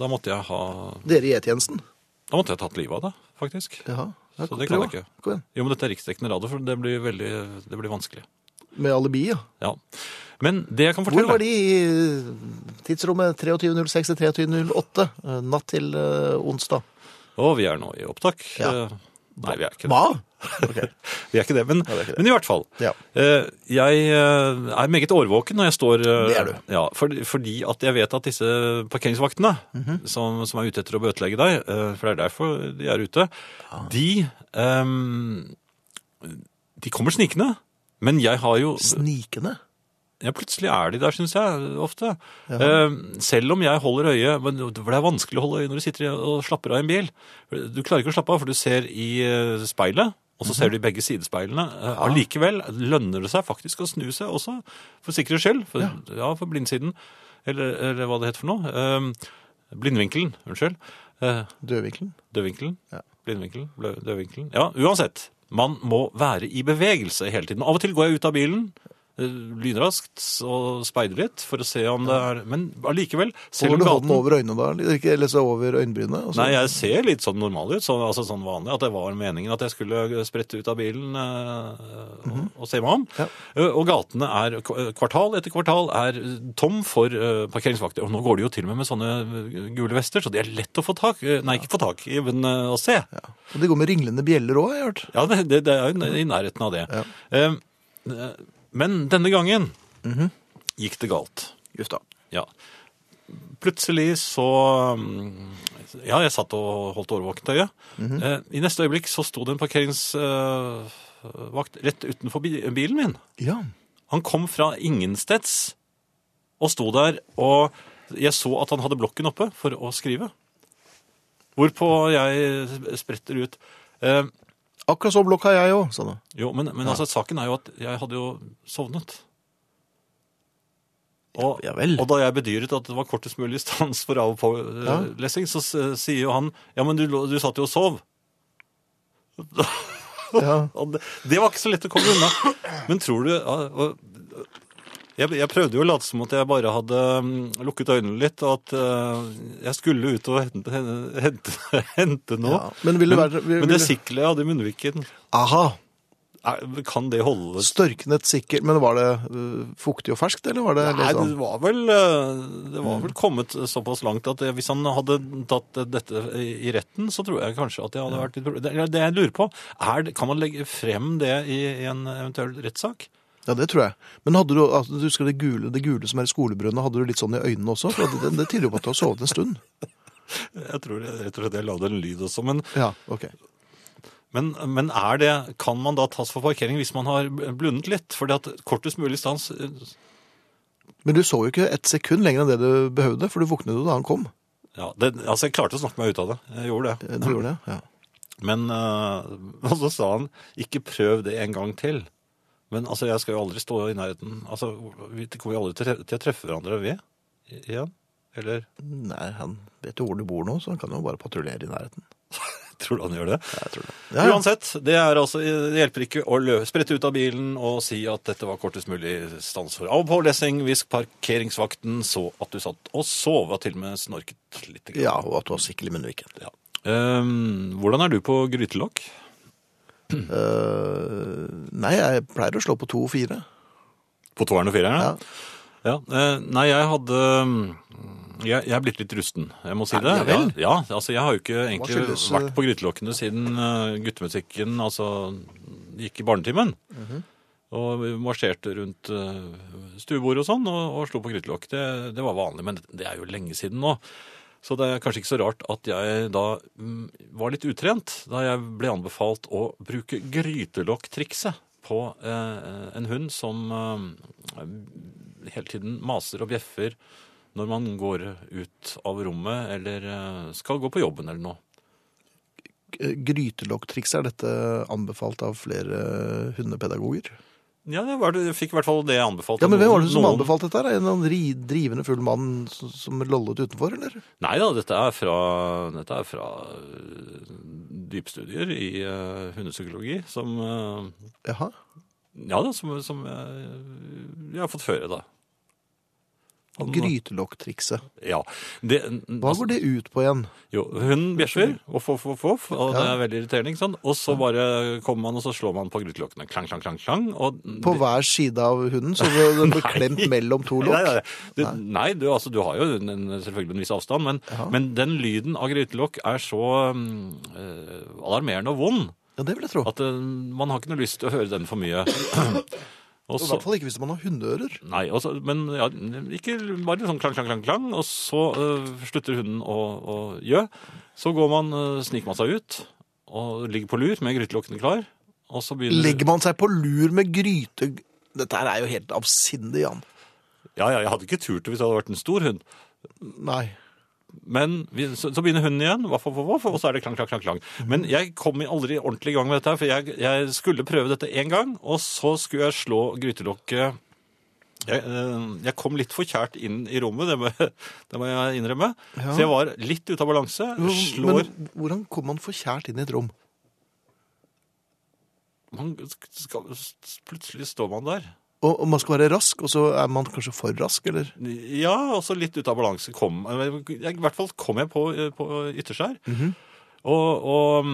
Da måtte jeg ha Dere i E-tjenesten? Da måtte jeg tatt livet av deg, faktisk. Jaha. Ja, Så det kan jeg prøv, da. ikke. Kom igjen. Jo, men dette er riksdekkende radio, for det blir veldig Det blir vanskelig. Med alibi, ja. Ja. Men det jeg kan Hvor fortelle var de i eh, tidsrommet 23.06 til 23.08 eh, natt til eh, onsdag? Og vi er nå i opptak. Ja. Eh, Nei, vi er ikke det. Hva? Ok. Vi er ikke det, men, vi er ikke det. men i hvert fall. Ja. Eh, Jeg eh, er meget årvåken når jeg står eh, Det er du. Ja, fordi- fordi at jeg vet at disse parkeringsvaktene Mhm. som, som er ute etter å bøtelegge deg, eh, for det er derfor de er ute, Ah. de ehm, De kommer snikende. Men jeg har jo Snikende? ja, plutselig er de der, syns jeg, ofte. Eh, selv om jeg holder øye men Det er vanskelig å holde øye når du sitter og slapper av i en bil. Du klarer ikke å slappe av, for du ser i eh, speilet, og så ser du i begge sidespeilene. Eh, Allikevel lønner det seg faktisk å snu seg også, for sikkerhets skyld. For, ja. for blindsiden, eller, eller hva det heter for noe. Eh, blindvinkelen, unnskyld. Eh, Dødvinkelen? Dødvinkelen? Ja. Blindvinkelen? blø- Dødvinkelen? Ja, uansett. Man må være i bevegelse hele tiden. Av og til går jeg ut av bilen eh, lynraskt og speider litt for å se om det er Men allikevel, selv om Holder du hånden gaten over øynene da? eller Ikke, eller så over øyenbrynet? og så- Nei, jeg ser litt sånn normal ut, så, altså sånn vanlig, at det var meningen at jeg skulle sprette ut av bilen eh, og, og se meg om. Mhm. Ja. Eh, Og gatene er, kvartal etter kvartal, er tom for eh, parkeringsvakter. Og nå går det jo til og med med sånne eh, gule vester, så de er lett å få tak eh, Nei, ikke få tak i, men eh, å se. Ja. Og de går med ringlende bjeller òg, har jeg hørt. Ja, det, det, det er jo i nærheten av det. Ja. Eh, eh, Men denne gangen gikk det galt. Just da. Ja. Plutselig så mm, Ja, jeg satt og holdt årvåkent øye. Eh, I neste øyeblikk så sto det en parkeringsvakt rett utenfor bi- bilen min. Ja. Han kom fra ingensteds og sto der, og jeg så at han hadde blokken oppe for å skrive. Hvorpå jeg spretter ut. Eh, Akkurat så blokk har jeg òg, sa du. Jo, men, men altså, saken er jo at jeg hadde jo sovnet. Og, Ja, ja vel. og da jeg bedyret at det var kortest mulig stans for av- og pålesing, så s- sier jo han Ja, men du, lå- du satt jo og sov. Ja. Og det, det var ikke så lett å komme unna. Men tror du ja, og- jeg, jeg prøvde jo å late som at jeg bare hadde mm, lukket øynene litt, og at eh, jeg skulle ut og hente, hente, hente noe. Ja, men ville men, være- ville- men det ville- sikkelet jeg hadde i munnviken, Aha. er- kan det holde Størknet sikkert. Men var det øh, fuktig og ferskt, eller var det Nei, liksom det sånn. var vel, eh, det var vel kommet såpass langt at eh, hvis han hadde tatt eh, dette i i retten, så tror jeg kanskje at det hadde vært litt problem. Det, det jeg lurer på, er, det- kan man legge frem det i, i en eventuell rettssak? Ja, det tror jeg. Men hadde du altså, du husker det gule, det gule som er i skolebrønnet, hadde du litt sånn i øynene også? For det, det tyder jo på at du har sovet en stund. Jeg tror jeg, rett og slett jeg la det en lyd også, men, Ja, ok. men, men er det, kan man da tas for parkering hvis man har blundet litt? Fordi at kortest mulig stans eh, Men du så jo ikke et sekund lenger enn det du behøvde, for du våknet jo da han kom. ja, det, Altså, jeg klarte å snakke meg ut av det. Jeg gjorde det. Eh, Du gjorde det, ja. Men eh, Og så sa han ikke prøv det en gang til. Men altså, jeg skal jo aldri stå i nærheten. Altså, Vi kommer jo aldri til, til å treffe hverandre ved i- igjen. Eller Nei, han vet jo hvor du bor nå, så han kan jo bare patruljere i nærheten. tror du han gjør det? Jeg tror det. Ja, ja. Uansett, det, er altså, det hjelper ikke å lø sprette ut av bilen og si at dette var kortest mulig stans for av- og pålesing hvis parkeringsvakten så at du satt og sov, og til og med snorket litt. ja, og at du har sikkel i munnviken. Ja. Ehm, hvordan er du på grytelokk? Mm. Eh, nei, jeg pleier å slå på to-fire. På toeren og fireren? Ja. Ja, eh, Nei, jeg hadde mm, jeg, jeg er blitt litt rusten, jeg må si det. ja vel. Ja, ja, altså Jeg har jo ikke egentlig skyldes, eh, vært på grytelokkene siden eh, guttemusikken altså, gikk i barnetimen. Mhm. Og vi marsjerte rundt eh, stuebordet og sånn og, og slo på grytelokk. Det, det var vanlig, men det er jo lenge siden nå. Så det er kanskje ikke så rart at jeg da mm, var litt utrent da jeg ble anbefalt å bruke grytelokktrikset på eh, en hund som eh, hele tiden maser og bjeffer når man går ut av rommet eller eh, skal gå på jobben eller noe. Grytelokktrikset, er dette anbefalt av flere hundepedagoger? Ja, det var, jeg fikk i hvert fall det anbefalt. Ja, men av Hvem var det som noen- anbefalte dette? her? En eller annen ri- drivende full mann som- som lollet utenfor, eller? Nei da, dette er fra, dette er fra øh, dypstudier i øh, hundepsykologi som, øh, Jaha. ja, da, som, som jeg, jeg har fått føre, da. Han- Grytelokktrikset. Ja. Det, Hva Altså- går det ut på igjen? Jo, hunden bjeffer, voff, voff, voff, voff, og det Ja. er veldig irriterende, ikke sant? Og så bare kommer man, og så slår man på grytelokkene. Klang, klang, klang, klang. Og På hver side av hunden, så det det ble Nei. klemt mellom to Nei, nei, lokk? nei. Du, nei du, altså, du har jo en, en, selvfølgelig en viss avstand, men, Ja. men den lyden av grytelokk er så mm, eh, alarmerende og vond Ja, det vil jeg tro. at eh, man har ikke noe lyst til å høre den for mye. Og I så, hvert fall ikke hvis man har hundeører. nei, og så- men ja, ikke bare sånn klang, klang, klang, klang, og så eh, slutter hunden å, å gjø. Så går man, eh, sniker man seg ut, og ligger på lur med grytelokkene klar, og så begynner... Legger man seg på lur med gryte... Dette her er jo helt avsindig, Jan. Ja, ja, jeg hadde ikke turt det hvis det hadde vært en stor hund. Nei. Men vi, så, så begynner hunden igjen, vaff, vaff, vaff, og så er det klang, klang, klang. klang. Mm. Men jeg kom i- aldri ordentlig i gang med dette, her, for jeg, jeg skulle prøve dette én gang, og så skulle jeg slå grytelokket jeg, eh, jeg kom litt for kjært inn i rommet, det må, det må jeg innrømme. Ja. Så jeg var litt ute av balanse. Slår Men hvordan kom man for kjært inn i et rom? man, skal, Plutselig står man der. Og, og man skal være rask, og så er man kanskje for rask, eller? Ja, også litt ute av balanse kom jeg, I hvert fall kom jeg på, eh, på ytterskjær. Mhm. Og, og,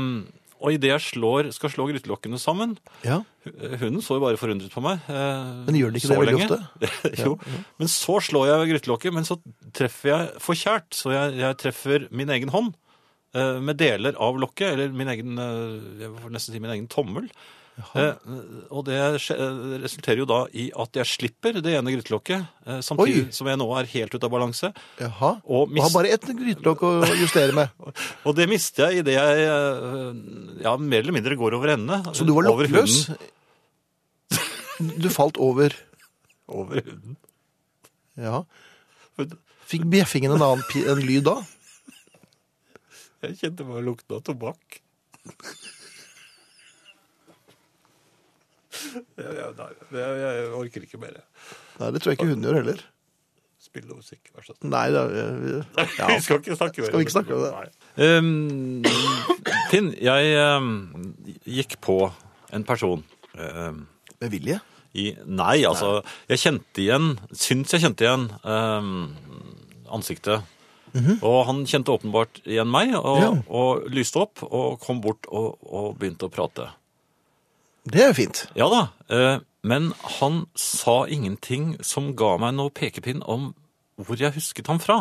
og idet jeg slår, skal slå grytelokkene sammen Ja. Hunden så jo bare forundret på meg. Men gjør den ikke det veldig ofte? jo. Men så slår jeg grytelokket, men så treffer jeg for kjært. Så jeg, jeg treffer min egen hånd eh, med deler av lokket, eller min egen eh, Jeg får nesten si min egen tommel. Eh, og det skje- eh, resulterer jo da i at jeg slipper det ene grytelokket, eh, samtidig Oi. som jeg nå er helt ute av balanse. Jaha. Og, Man mis har bare ett grytelokk å justere med. og det mister jeg idet jeg eh, ja, mer eller mindre går over ende. Så du var Over lokkløs. hunden. Du falt over. Over hunden. Ja. Men Fikk bjeffingen en annen pi- en lyd da? Jeg kjente bare lukten av tobakk. Jeg, jeg, nei, jeg, jeg orker ikke mer. Nei, det tror jeg ikke hunden gjør heller. Spill noe musikk, vær så snill. Nei, det er, ja. Vi skal ikke snakke mer Skal vi ikke snakke om det? Nei. Um, Finn, jeg um, gikk på en person um, Med vilje? i Nei, altså. Jeg kjente igjen Syns jeg kjente igjen um, ansiktet. Og han kjente åpenbart igjen meg, og, Ja. og lyste opp og kom bort og, og begynte å prate. Det er jo fint. Ja da, eh, men han sa ingenting som ga meg noe pekepinn om hvor jeg husket ham fra.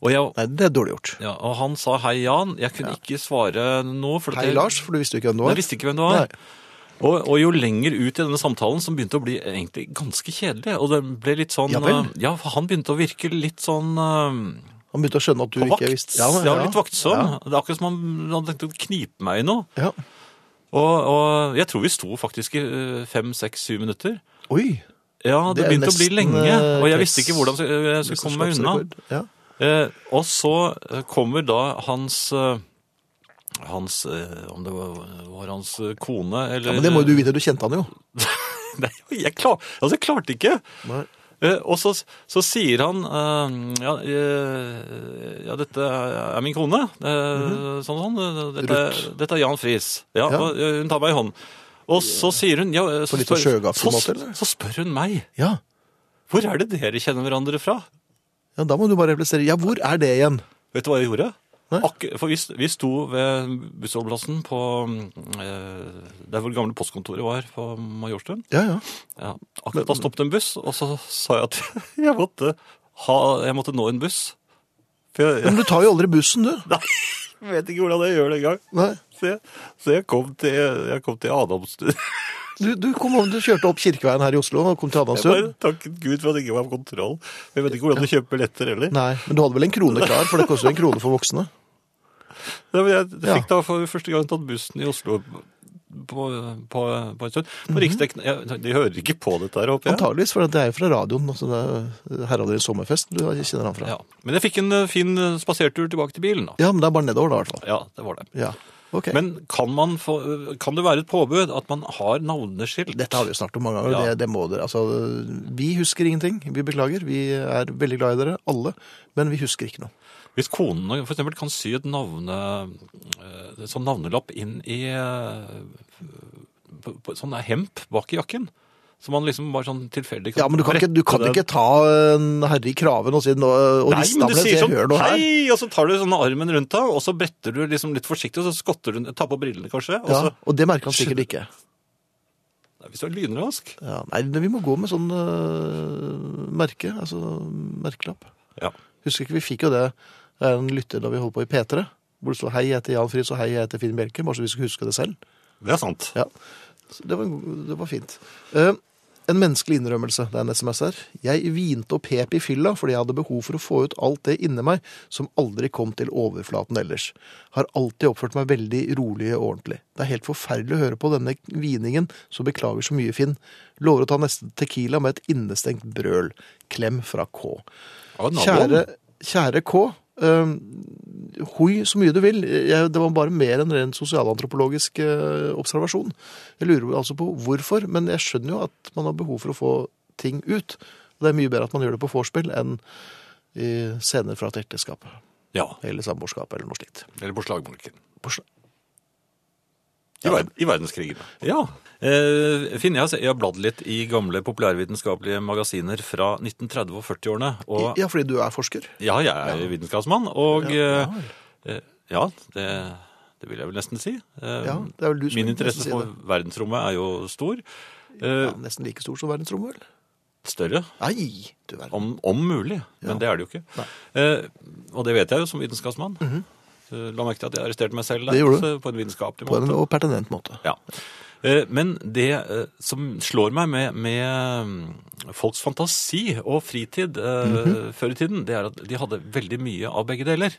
Og, jeg, Nei, det er dårlig gjort. ja, og han sa hei, Jan. Jeg kunne ikke svare noe. For at Hei, jeg- Lars, for du visste jo ikke hvem du Jeg var. visste ikke hvem det var. Nei. Og, og jo lenger ut i denne samtalen, som begynte å bli egentlig ganske kjedelig. Og det ble litt sånn Ja vel. eh, Ja, for han begynte å virke litt sånn eh, Han begynte å skjønne at du på vakt. ikke visste Ja, men- litt vaktsom. Det er akkurat som han hadde tenkt å knipe meg i noe. Ja. Og, og jeg tror vi sto faktisk i eh, fem, seks, syv minutter. Oi. Ja, det, er begynte å bli nesten, lenge, eh, og jeg krets- visste ikke hvordan jeg skulle komme meg unna. mesterskapsrekord. Ja. Eh, og så eh, kommer da hans eh, hans, eh, Om det var, var hans eh, kone eller Ja, men det må jo du vite, du kjente han jo. Nei, jeg, klar, altså, jeg klarte ikke! Nei. Eh, og så, så sier han eh, ja, eh, ja, dette er min kone. Eh, Sånn og sånn. Dette, Mhm. Ruth. dette er Jan Friis. Ja, Ja. Og, eh, hun tar meg i hånden. Og så sier hun ja, eh, så, På litt spør, sjøgaftig så, måte, eller? så spør hun meg Ja. hvor er det dere kjenner hverandre fra. ja, da må du bare replisere. Ja, hvor er det igjen? Vet du hva jeg gjorde? Nei. Akk- for vi, st- vi sto ved bussholdeplassen på eh, der hvor det gamle postkontoret var på Majorstuen. Ja, ja. Ja, akkurat da stoppet en buss, og så sa jeg at jeg måtte, ha, jeg måtte nå en buss. For jeg, Men du tar jo aldri bussen, du. jeg vet ikke hvordan jeg gjør det engang. Nei. Så, jeg- så jeg kom til, jeg kom til Adamstuen. Du, du, kom, over- du kjørte opp Kirkeveien her i Oslo og kom til Jeg Adamstuen. bare takket Gud for at jeg ikke var på kontroll. Jeg vet ikke hvordan du kjøper billetter heller. Nei, men du hadde vel en krone klar, for det koster jo en krone for voksne. Nei, men jeg Ja. fikk da for første gang tatt bussen i Oslo på, på, på en stund. På Mhm. Riksdekken jeg, De hører ikke på dette her, håper jeg. Antageligvis, for det er jo fra radioen. Altså det er Herreavdelingens sommerfest du kjenner han fra. Ja. Men jeg fikk en eh, fin eh, spasertur tilbake til bilen, da. Ja, men det er bare nedover da, i hvert fall. Ja, det var det. Ja. Ok. Men kan, man få, eh, kan det være et påbud at man har navneskilt? Dette har vi jo snakket om mange ganger. Ja. Det, det må dere. Altså, vi husker ingenting. Vi beklager. Vi er veldig glad i dere, alle. Men vi husker ikke noe. Hvis konene for eksempel kan sy et navne, eh, sånn navnelapp inn i eh, på, på, sånn er hemp bak i jakken, så man liksom bare sånn tilfeldig Ja, men du kan ikke, du kan brette ikke det. ta en herre i kraven og, si, nå- og Nei, riste men av du det og si sier sånn 'hør nå her'. hei, og så tar du sånn armen rundt deg, og så bretter du liksom litt forsiktig, og så skotter du, tar på brillene kanskje, og Ja, så, og det merker han sikkert ikke. Nei, hvis du er lynrask. Ja, nei, men vi må gå med sånn øh, merke, altså merkelapp. Ja. Husker ikke, vi fikk jo det av en lytter da vi holdt på i P3, hvor det stod 'hei, jeg heter Jan Friis', og 'hei, jeg heter Finn Bjelke', bare så vi skulle huske det selv. Det er sant. Ja, så det var, en god- det var fint. Eh, en menneskelig innrømmelse, det er en sms her. Jeg vinte og pep i fylla fordi jeg hadde behov for å få ut alt det inni meg som aldri kom til overflaten ellers. Har alltid oppført meg veldig rolig og ordentlig. Det er helt forferdelig å høre på denne viningen, så beklager så mye, Finn. Lover å ta neste tequila med et innestengt brøl. Klem fra K. Av naboen. Kjære, kjære K. Uh, hoi så mye du vil. Jeg, det var bare mer en ren sosialantropologisk eh, observasjon. Jeg lurer altså på hvorfor, men jeg skjønner jo at man har behov for å få ting ut. Og det er mye bedre at man gjør det på vorspiel enn i scener fra et ekteskap Ja, eller samboerskap eller noe slikt. eller på slagmarken. På sl- I, ver I verdenskrigene. Ja. Eh, Finn, jeg har, se- jeg har bladd litt i gamle populærvitenskapelige magasiner fra 1930- og 40-årene. Og Ja, fordi du er forsker. ja, jeg er vitenskapsmann, og Ja, eh, eh, ja, det, det vil jeg vel nesten si. Eh, Ja, det er vel du som Min vil interesse nesten si for verdensrommet er jo stor. Eh, Ja, nesten like stor som verdensrommet, vel? Større, Nei, du verden. om, om mulig. Men det er det jo ikke. Eh, og det vet jeg jo som vitenskapsmann. Eh, La merke til at jeg arresterte meg selv Mhm. der, Det gjorde du. så på en vitenskapelig På måte. en og pertinent måte. Ja. Eh, Men det eh, som slår meg med, med mm, folks fantasi og fritid eh, Mhm. før i tiden, det er at de hadde veldig mye av begge deler.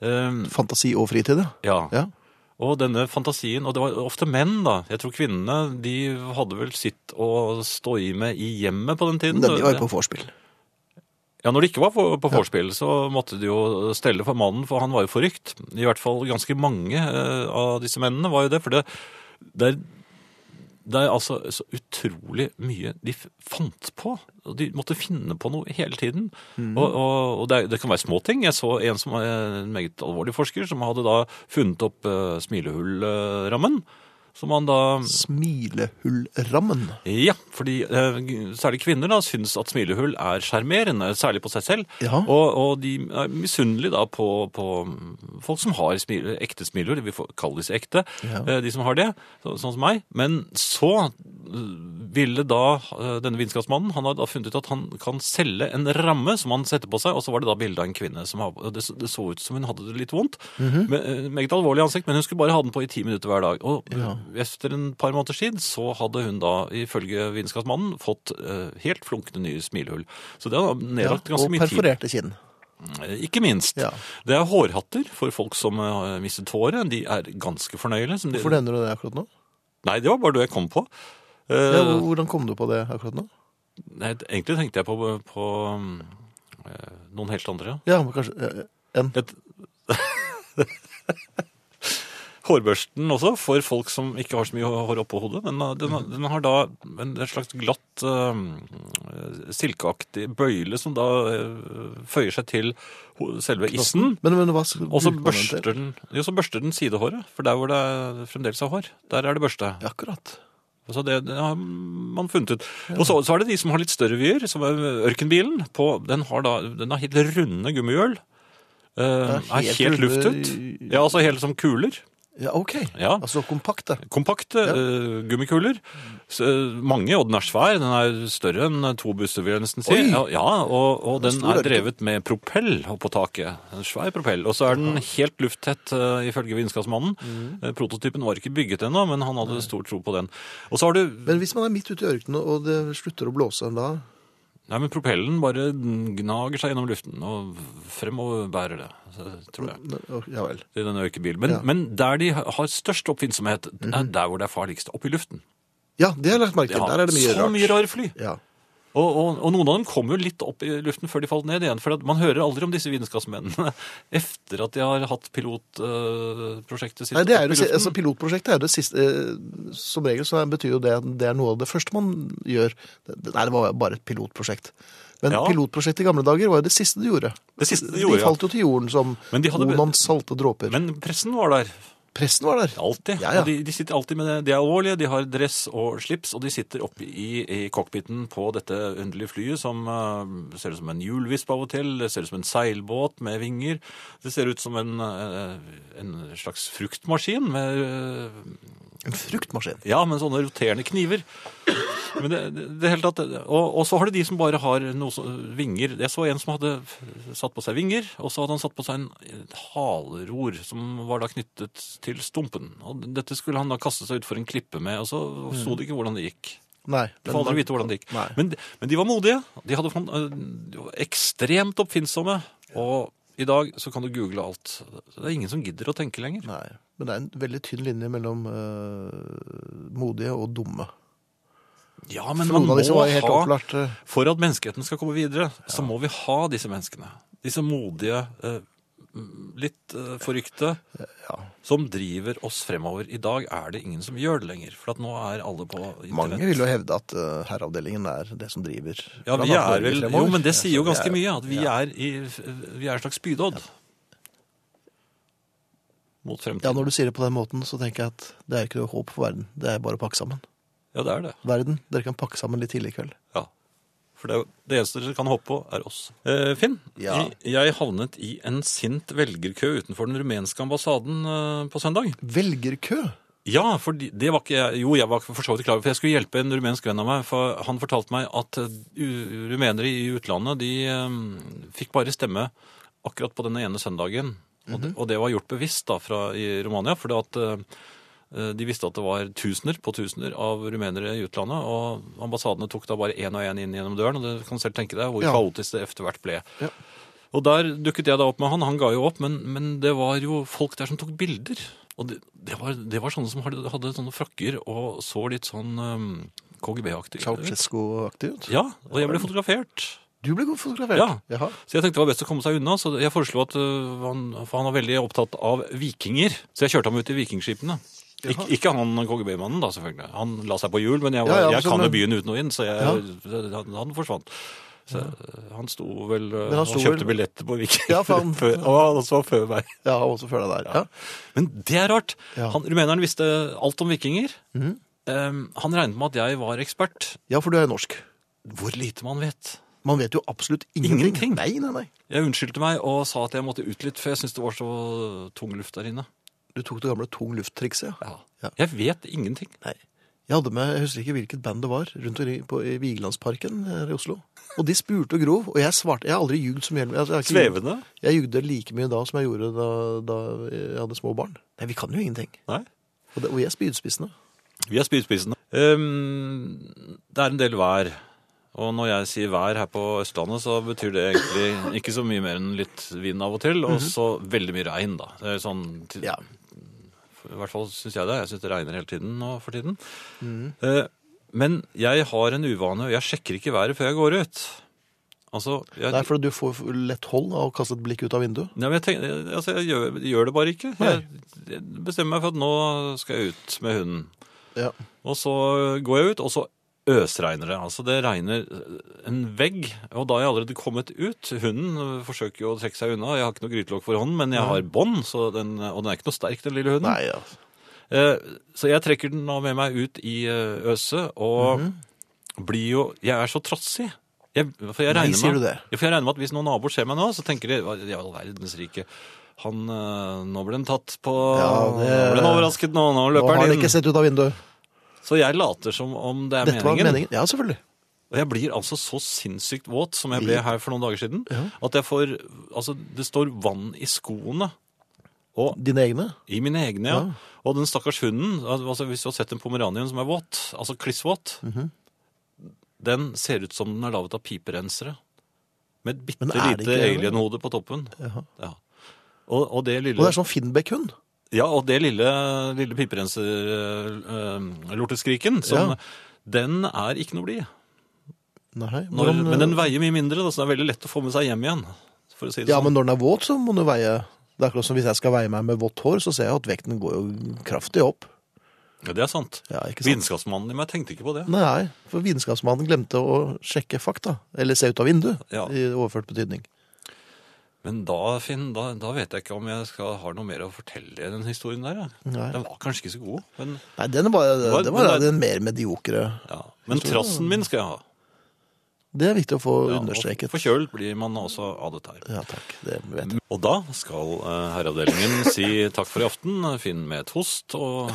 Eh, Fantasi og fritid, ja. ja. ja. Og denne fantasien, og det var ofte menn da, jeg tror kvinnene, de hadde vel sitt å stå i med i hjemmet på den tiden. Men de var jo på vorspiel. Ja, når det ikke var på, på vorspiel, så måtte de jo stelle for mannen, for han var jo forrykt. I hvert fall ganske mange eh, av disse mennene var jo det, for det, det, er, det er altså så utrolig mye de f- fant på. og De måtte finne på noe hele tiden. Og, og, og det, er- det kan være små ting. Jeg så en som er en meget alvorlig forsker, som hadde da funnet opp eh, smilehullrammen, som han da Smilehullrammen. ja, fordi eh, særlig kvinner da syns at smilehull er sjarmerende, særlig på seg selv. Ja. Og, og de er misunnelige da på, på folk som har smil, ekte smilehull, vi får kalle disse ekte, Ja. eh, de som har det, så, sånn som meg. Men så eh, ville da eh, denne vitenskapsmannen han hadde da funnet ut at han kan selge en ramme som han setter på seg, og så var det da bilde av en kvinne som har, det, så- det så ut som hun hadde det litt vondt. Mhm. med, eh, meget alvorlig ansikt, men hun skulle bare ha den på i ti minutter hver dag. Og Ja. etter en par måneder siden så hadde hun da, ifølge vitenskapsmannen, fått eh, helt flunkende nye smilehull. Så det har nedlagt Ja, ganske og mye tid. perforerte kinn. Eh, Ikke minst. Ja. Det er hårhatter for folk som eh, har mistet håret. De er ganske fornøyelige. Som de... Hvorfor nevner du det akkurat nå? Nei, det var bare det jeg kom på. Eh, Ja, hvor- hvordan kom du på det akkurat nå? nei, egentlig tenkte jeg på, på mm, eh, noen helt andre. Ja, men kanskje eh, en. Et... Hårbørsten også, for folk som ikke har så mye hår oppå hodet. Men eh, den, den har da en en slags glatt, eh, silkeaktig bøyle som da eh, føyer seg til ho- selve issen. Men, men hva skal Og så bruker man den til? børster den, jo, så børster den sidehåret, for der hvor det fremdeles er hår, der er det børste. Ja, akkurat. Så det, det har man funnet ut. Og så, så er det de som har litt større vyer, som er ørkenbilen. På, den, har da, den har helt runde gummihjul. Eh, er Det er helt, helt luftet. runde- Ja, altså helt som kuler. Ja, ok. Ja. Altså kompakt, det. Kompakte Ja. eh, gummikuler. Så, eh, mange, og den er svær. Den er større enn to busser, vil jeg nesten si. Oi! Ja, ja, og, og den Stor er ørken. drevet med propell på taket. En svær propell. Og så er den helt lufttett, eh, ifølge vitenskapsmannen. Mm. Eh, Prototypen var ikke bygget ennå, men han hadde stor tro på den. Og så har du Men hvis man er midt ute i ørkenen, og det slutter å blåse en dag Nei, men propellen bare gnager seg gjennom luften og fremover bærer det, så- tror jeg. Ja vel. I denne økebilen. Men, Ja. Mhm. men der de har størst oppfinnsomhet, er der hvor det er farligst. Oppe i luften. Ja, det har jeg lagt merke til. Ja, Der er det mye så rart. mye rare fly. Ja. Og, og, og noen av dem kom jo litt opp i luften før de falt ned igjen. For at man hører aldri om disse vitenskapsmennene etter at de har hatt pilotprosjektet sitt Nei, det er jo, opp i det si- luften. altså Pilotprosjektet er jo det siste eh, Som regel så er- betyr jo det at det er noe av det første man gjør. Det- Nei, det var bare et pilotprosjekt. Men Ja. pilotprosjektet i gamle dager var jo det siste du gjorde. Det siste de gjorde, De ja. falt jo til jorden som Men de hadde- Onans salte dråper. Men pressen var der. Pressen var der. Alltid. Ja, ja. Og de, de sitter alltid med det. De er alvorlige, de har dress og slips, og de sitter oppe i, i cockpiten på dette underlige flyet som eh, ser ut som en hjulvisp av og til, det ser ut som en seilbåt med vinger. Det ser ut som en, eh, en slags fruktmaskin med eh, En fruktmaskin. Ja, med sånne roterende kniver. Men det, det, det hele tatt, og, og så har du de som bare har noe, så- vinger. Jeg så en som hadde satt på seg vinger, og så hadde han satt på seg en et haleror som var da knyttet til stumpen. Og dette skulle han da kaste seg utfor en klippe med, og så så det ikke hvordan det gikk. Nei. Du får aldri vite hvordan det gikk. Nei. Men, men de var modige. De, hadde, fan- øh, de var ekstremt oppfinnsomme. Og i dag så kan du google alt. Det er ingen som gidder å tenke lenger. Nei. Men det er en veldig tynn linje mellom eh, modige og dumme. Ja, men For man noen må av disse var jo helt ha opplagt eh, For at menneskeheten skal komme videre, så må vi ha disse menneskene. Disse modige, eh, m- litt eh, forrykte, ja. som driver oss fremover. I dag er det ingen som gjør det lenger, for at nå er alle på internett. Mange vil jo hevde at eh, herreavdelingen er det som driver ja, vi blant annet er Norge vel, fremover. Jo, men det sier jo Ja, så ganske vi er- mye, at vi er, i, vi er en slags spydodd. Mot Ja, fremtiden. når du sier det på den måten, så tenker jeg at det er ikke noe håp for verden. Det er bare å pakke sammen. Ja, det er det. Verden, dere kan pakke sammen litt tidlig i kveld. Ja. For det, er jo- det eneste dere kan håpe på, er oss. Eh, Finn, Ja. jeg, jeg havnet i en sint velgerkø utenfor den rumenske ambassaden eh, på søndag. Velgerkø? Ja, for de- det var ikke jeg. Jo, jeg var for så vidt klar over, for jeg skulle hjelpe en rumensk venn av meg. For han fortalte meg at eh, u- rumenere i utlandet, de eh, fikk bare stemme akkurat på den ene søndagen. Og, det, og det var gjort bevisst da fra, i Romania, fordi at eh, de visste at det var tusener på tusener av rumenere i utlandet, og ambassadene tok da bare én og én inn gjennom døren, og det kan du selv tenke deg hvor Ja. kaotisk det etter hvert ble. Ja. Og der dukket jeg da opp med han. Han ga jo opp, men, men det var jo folk der som tok bilder. Og det, det, var, det var sånne som hadde, hadde sånne frakker og så litt sånn ehm, KGB-aktig. Ceaucescu-aktig ut? Ja, og jeg ble fotografert. Du ble godt fotografert? Ja. Jaha. Så jeg tenkte det var best å komme seg unna, så jeg foreslo at øh, han, for han var veldig opptatt av vikinger, så jeg kjørte ham ut i vikingskipene. Ik Jaha. ikke han KGB-mannen da, selvfølgelig. Han la seg på hjul, men jeg, var, Ja, ja, jeg men kan sånn- jo byen uten og inn, så jeg, Ja. han- han forsvant. Så øh, han sto vel, øh, han han, sto kjøpte vel- billetter på Viking. Ja, for han- før, og han var før meg. Ja, også før deg der. Ja. Men det er rart. Ja. Mhm. Han, rumeneren visste alt om vikinger. Ehm, han regnet med at jeg var ekspert. Ja. for du er jo norsk. Hvor lite man vet. Man vet jo absolutt ingenting. Ingenting. Nei, nei, nei. Jeg unnskyldte meg og sa at jeg måtte ut litt, for jeg syntes det var så tung luft der inne. Du tok det gamle tung luft-trikset, ja. Ja. Ja. Jeg vet ingenting. Nei. Jeg hadde med, jeg husker ikke hvilket band det var, rundt i, på, i Vigelandsparken her i Oslo. Og de spurte og grov, og jeg svarte. Jeg har aldri ljugd så mye. Jeg, jeg, har ikke ljugd- Svevende? jeg jugde like mye da som jeg gjorde da, da jeg hadde små barn. Nei, vi kan jo ingenting. Nei. Og, det, og vi er spydspissende. Vi er spydspissende. Ehm, det er en del vær. Og når jeg sier vær her på Østlandet, så betyr det egentlig ikke så mye mer enn litt vind av og til, og så veldig mye regn, da. Det er sånn til, Mhm. Ja. I hvert fall syns jeg det. Jeg syns det regner hele tiden nå for tiden. Mhm. Eh, Men jeg har en uvane, og jeg sjekker ikke været før jeg går ut. Altså, jeg, Nei, for du får lett hold av å kaste et blikk ut av vinduet. Nei, men jeg, tenker, altså, jeg gjør, gjør det bare ikke. Jeg, jeg bestemmer meg for at nå skal jeg ut med hunden. Ja. Og så går jeg ut, og så øsregner det. Altså det regner en vegg, og da er jeg allerede kommet ut. Hunden øh, forsøker jo å trekke seg unna. Jeg har ikke noe grytelokk for hånden, men jeg har bånd, så den, og den er ikke noe sterk, den lille hunden. Nei, ja. Eh, Så jeg trekker den da med meg ut i eh, øset, og Mhm. blir jo Jeg er så trassig. Jeg, for jeg Nei, regner sier med, du det? Ja, for jeg regner med at hvis noen naboer ser meg nå, så tenker de hva i all verdens rike han, eh, Nå ble han tatt på Ja, det- Nå ble han overrasket nå, nå Nå løper har han det inn. ikke sett ut av vinduet. Så jeg later som om det er Dette var meningen. meningen. Ja, selvfølgelig. Og jeg blir altså så sinnssykt våt som jeg ble her for noen dager siden, Ja. at jeg får Altså, det står vann i skoene. Og Dine egne? i mine egne, ja. Og den stakkars hunden, al- altså hvis du har sett en pomeranian som er våt, altså klissvåt, Mhm. den ser ut som den er laget av piperensere. Med et bitte Men er det lite ikke det? alienhode på toppen. Jaha. Ja. Og, og det lille, Og det er sånn Finnbekk-hund. ja, og det lille, lille piperenser-lorteskriken, som Ja. den er ikke noe blid. Nei, Når, hvordan- men den veier mye mindre, da, så det er veldig lett å få med seg hjem igjen. For å si det Ja, sånn. men når den er våt, så må den jo veie Det er akkurat som hvis jeg skal veie meg med vått hår, så ser jeg at vekten går jo kraftig opp. Ja, det er sant. Ja, ikke sant? Vitenskapsmannen i meg tenkte ikke på det. Nei, for vitenskapsmannen glemte å sjekke fakta. Eller se ut av vinduet, Ja. i overført betydning. Men da, Finn, da, da vet jeg ikke om jeg skal, har noe mer å fortelle i den historien der. Jeg. Nei, Den var kanskje ikke så god, men, Nei den var, Hva- det var men det- den mer mediokre. ja. men trassen min skal jeg ha. Det er viktig å få Ja, og understreket. Forkjølt blir man også av dette her. Ja, takk. Det vet jeg. Og da skal eh, herreavdelingen si takk for i aften. Finn med et host og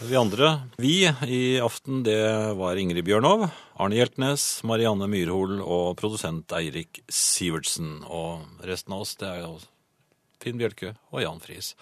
vi andre. Vi i aften, det var Ingrid Bjørnov, Arne Hjeltnes, Marianne Myrhol og produsent Eirik Sivertsen. Og resten av oss, det er jo Finn Bjelke og Jan Friis.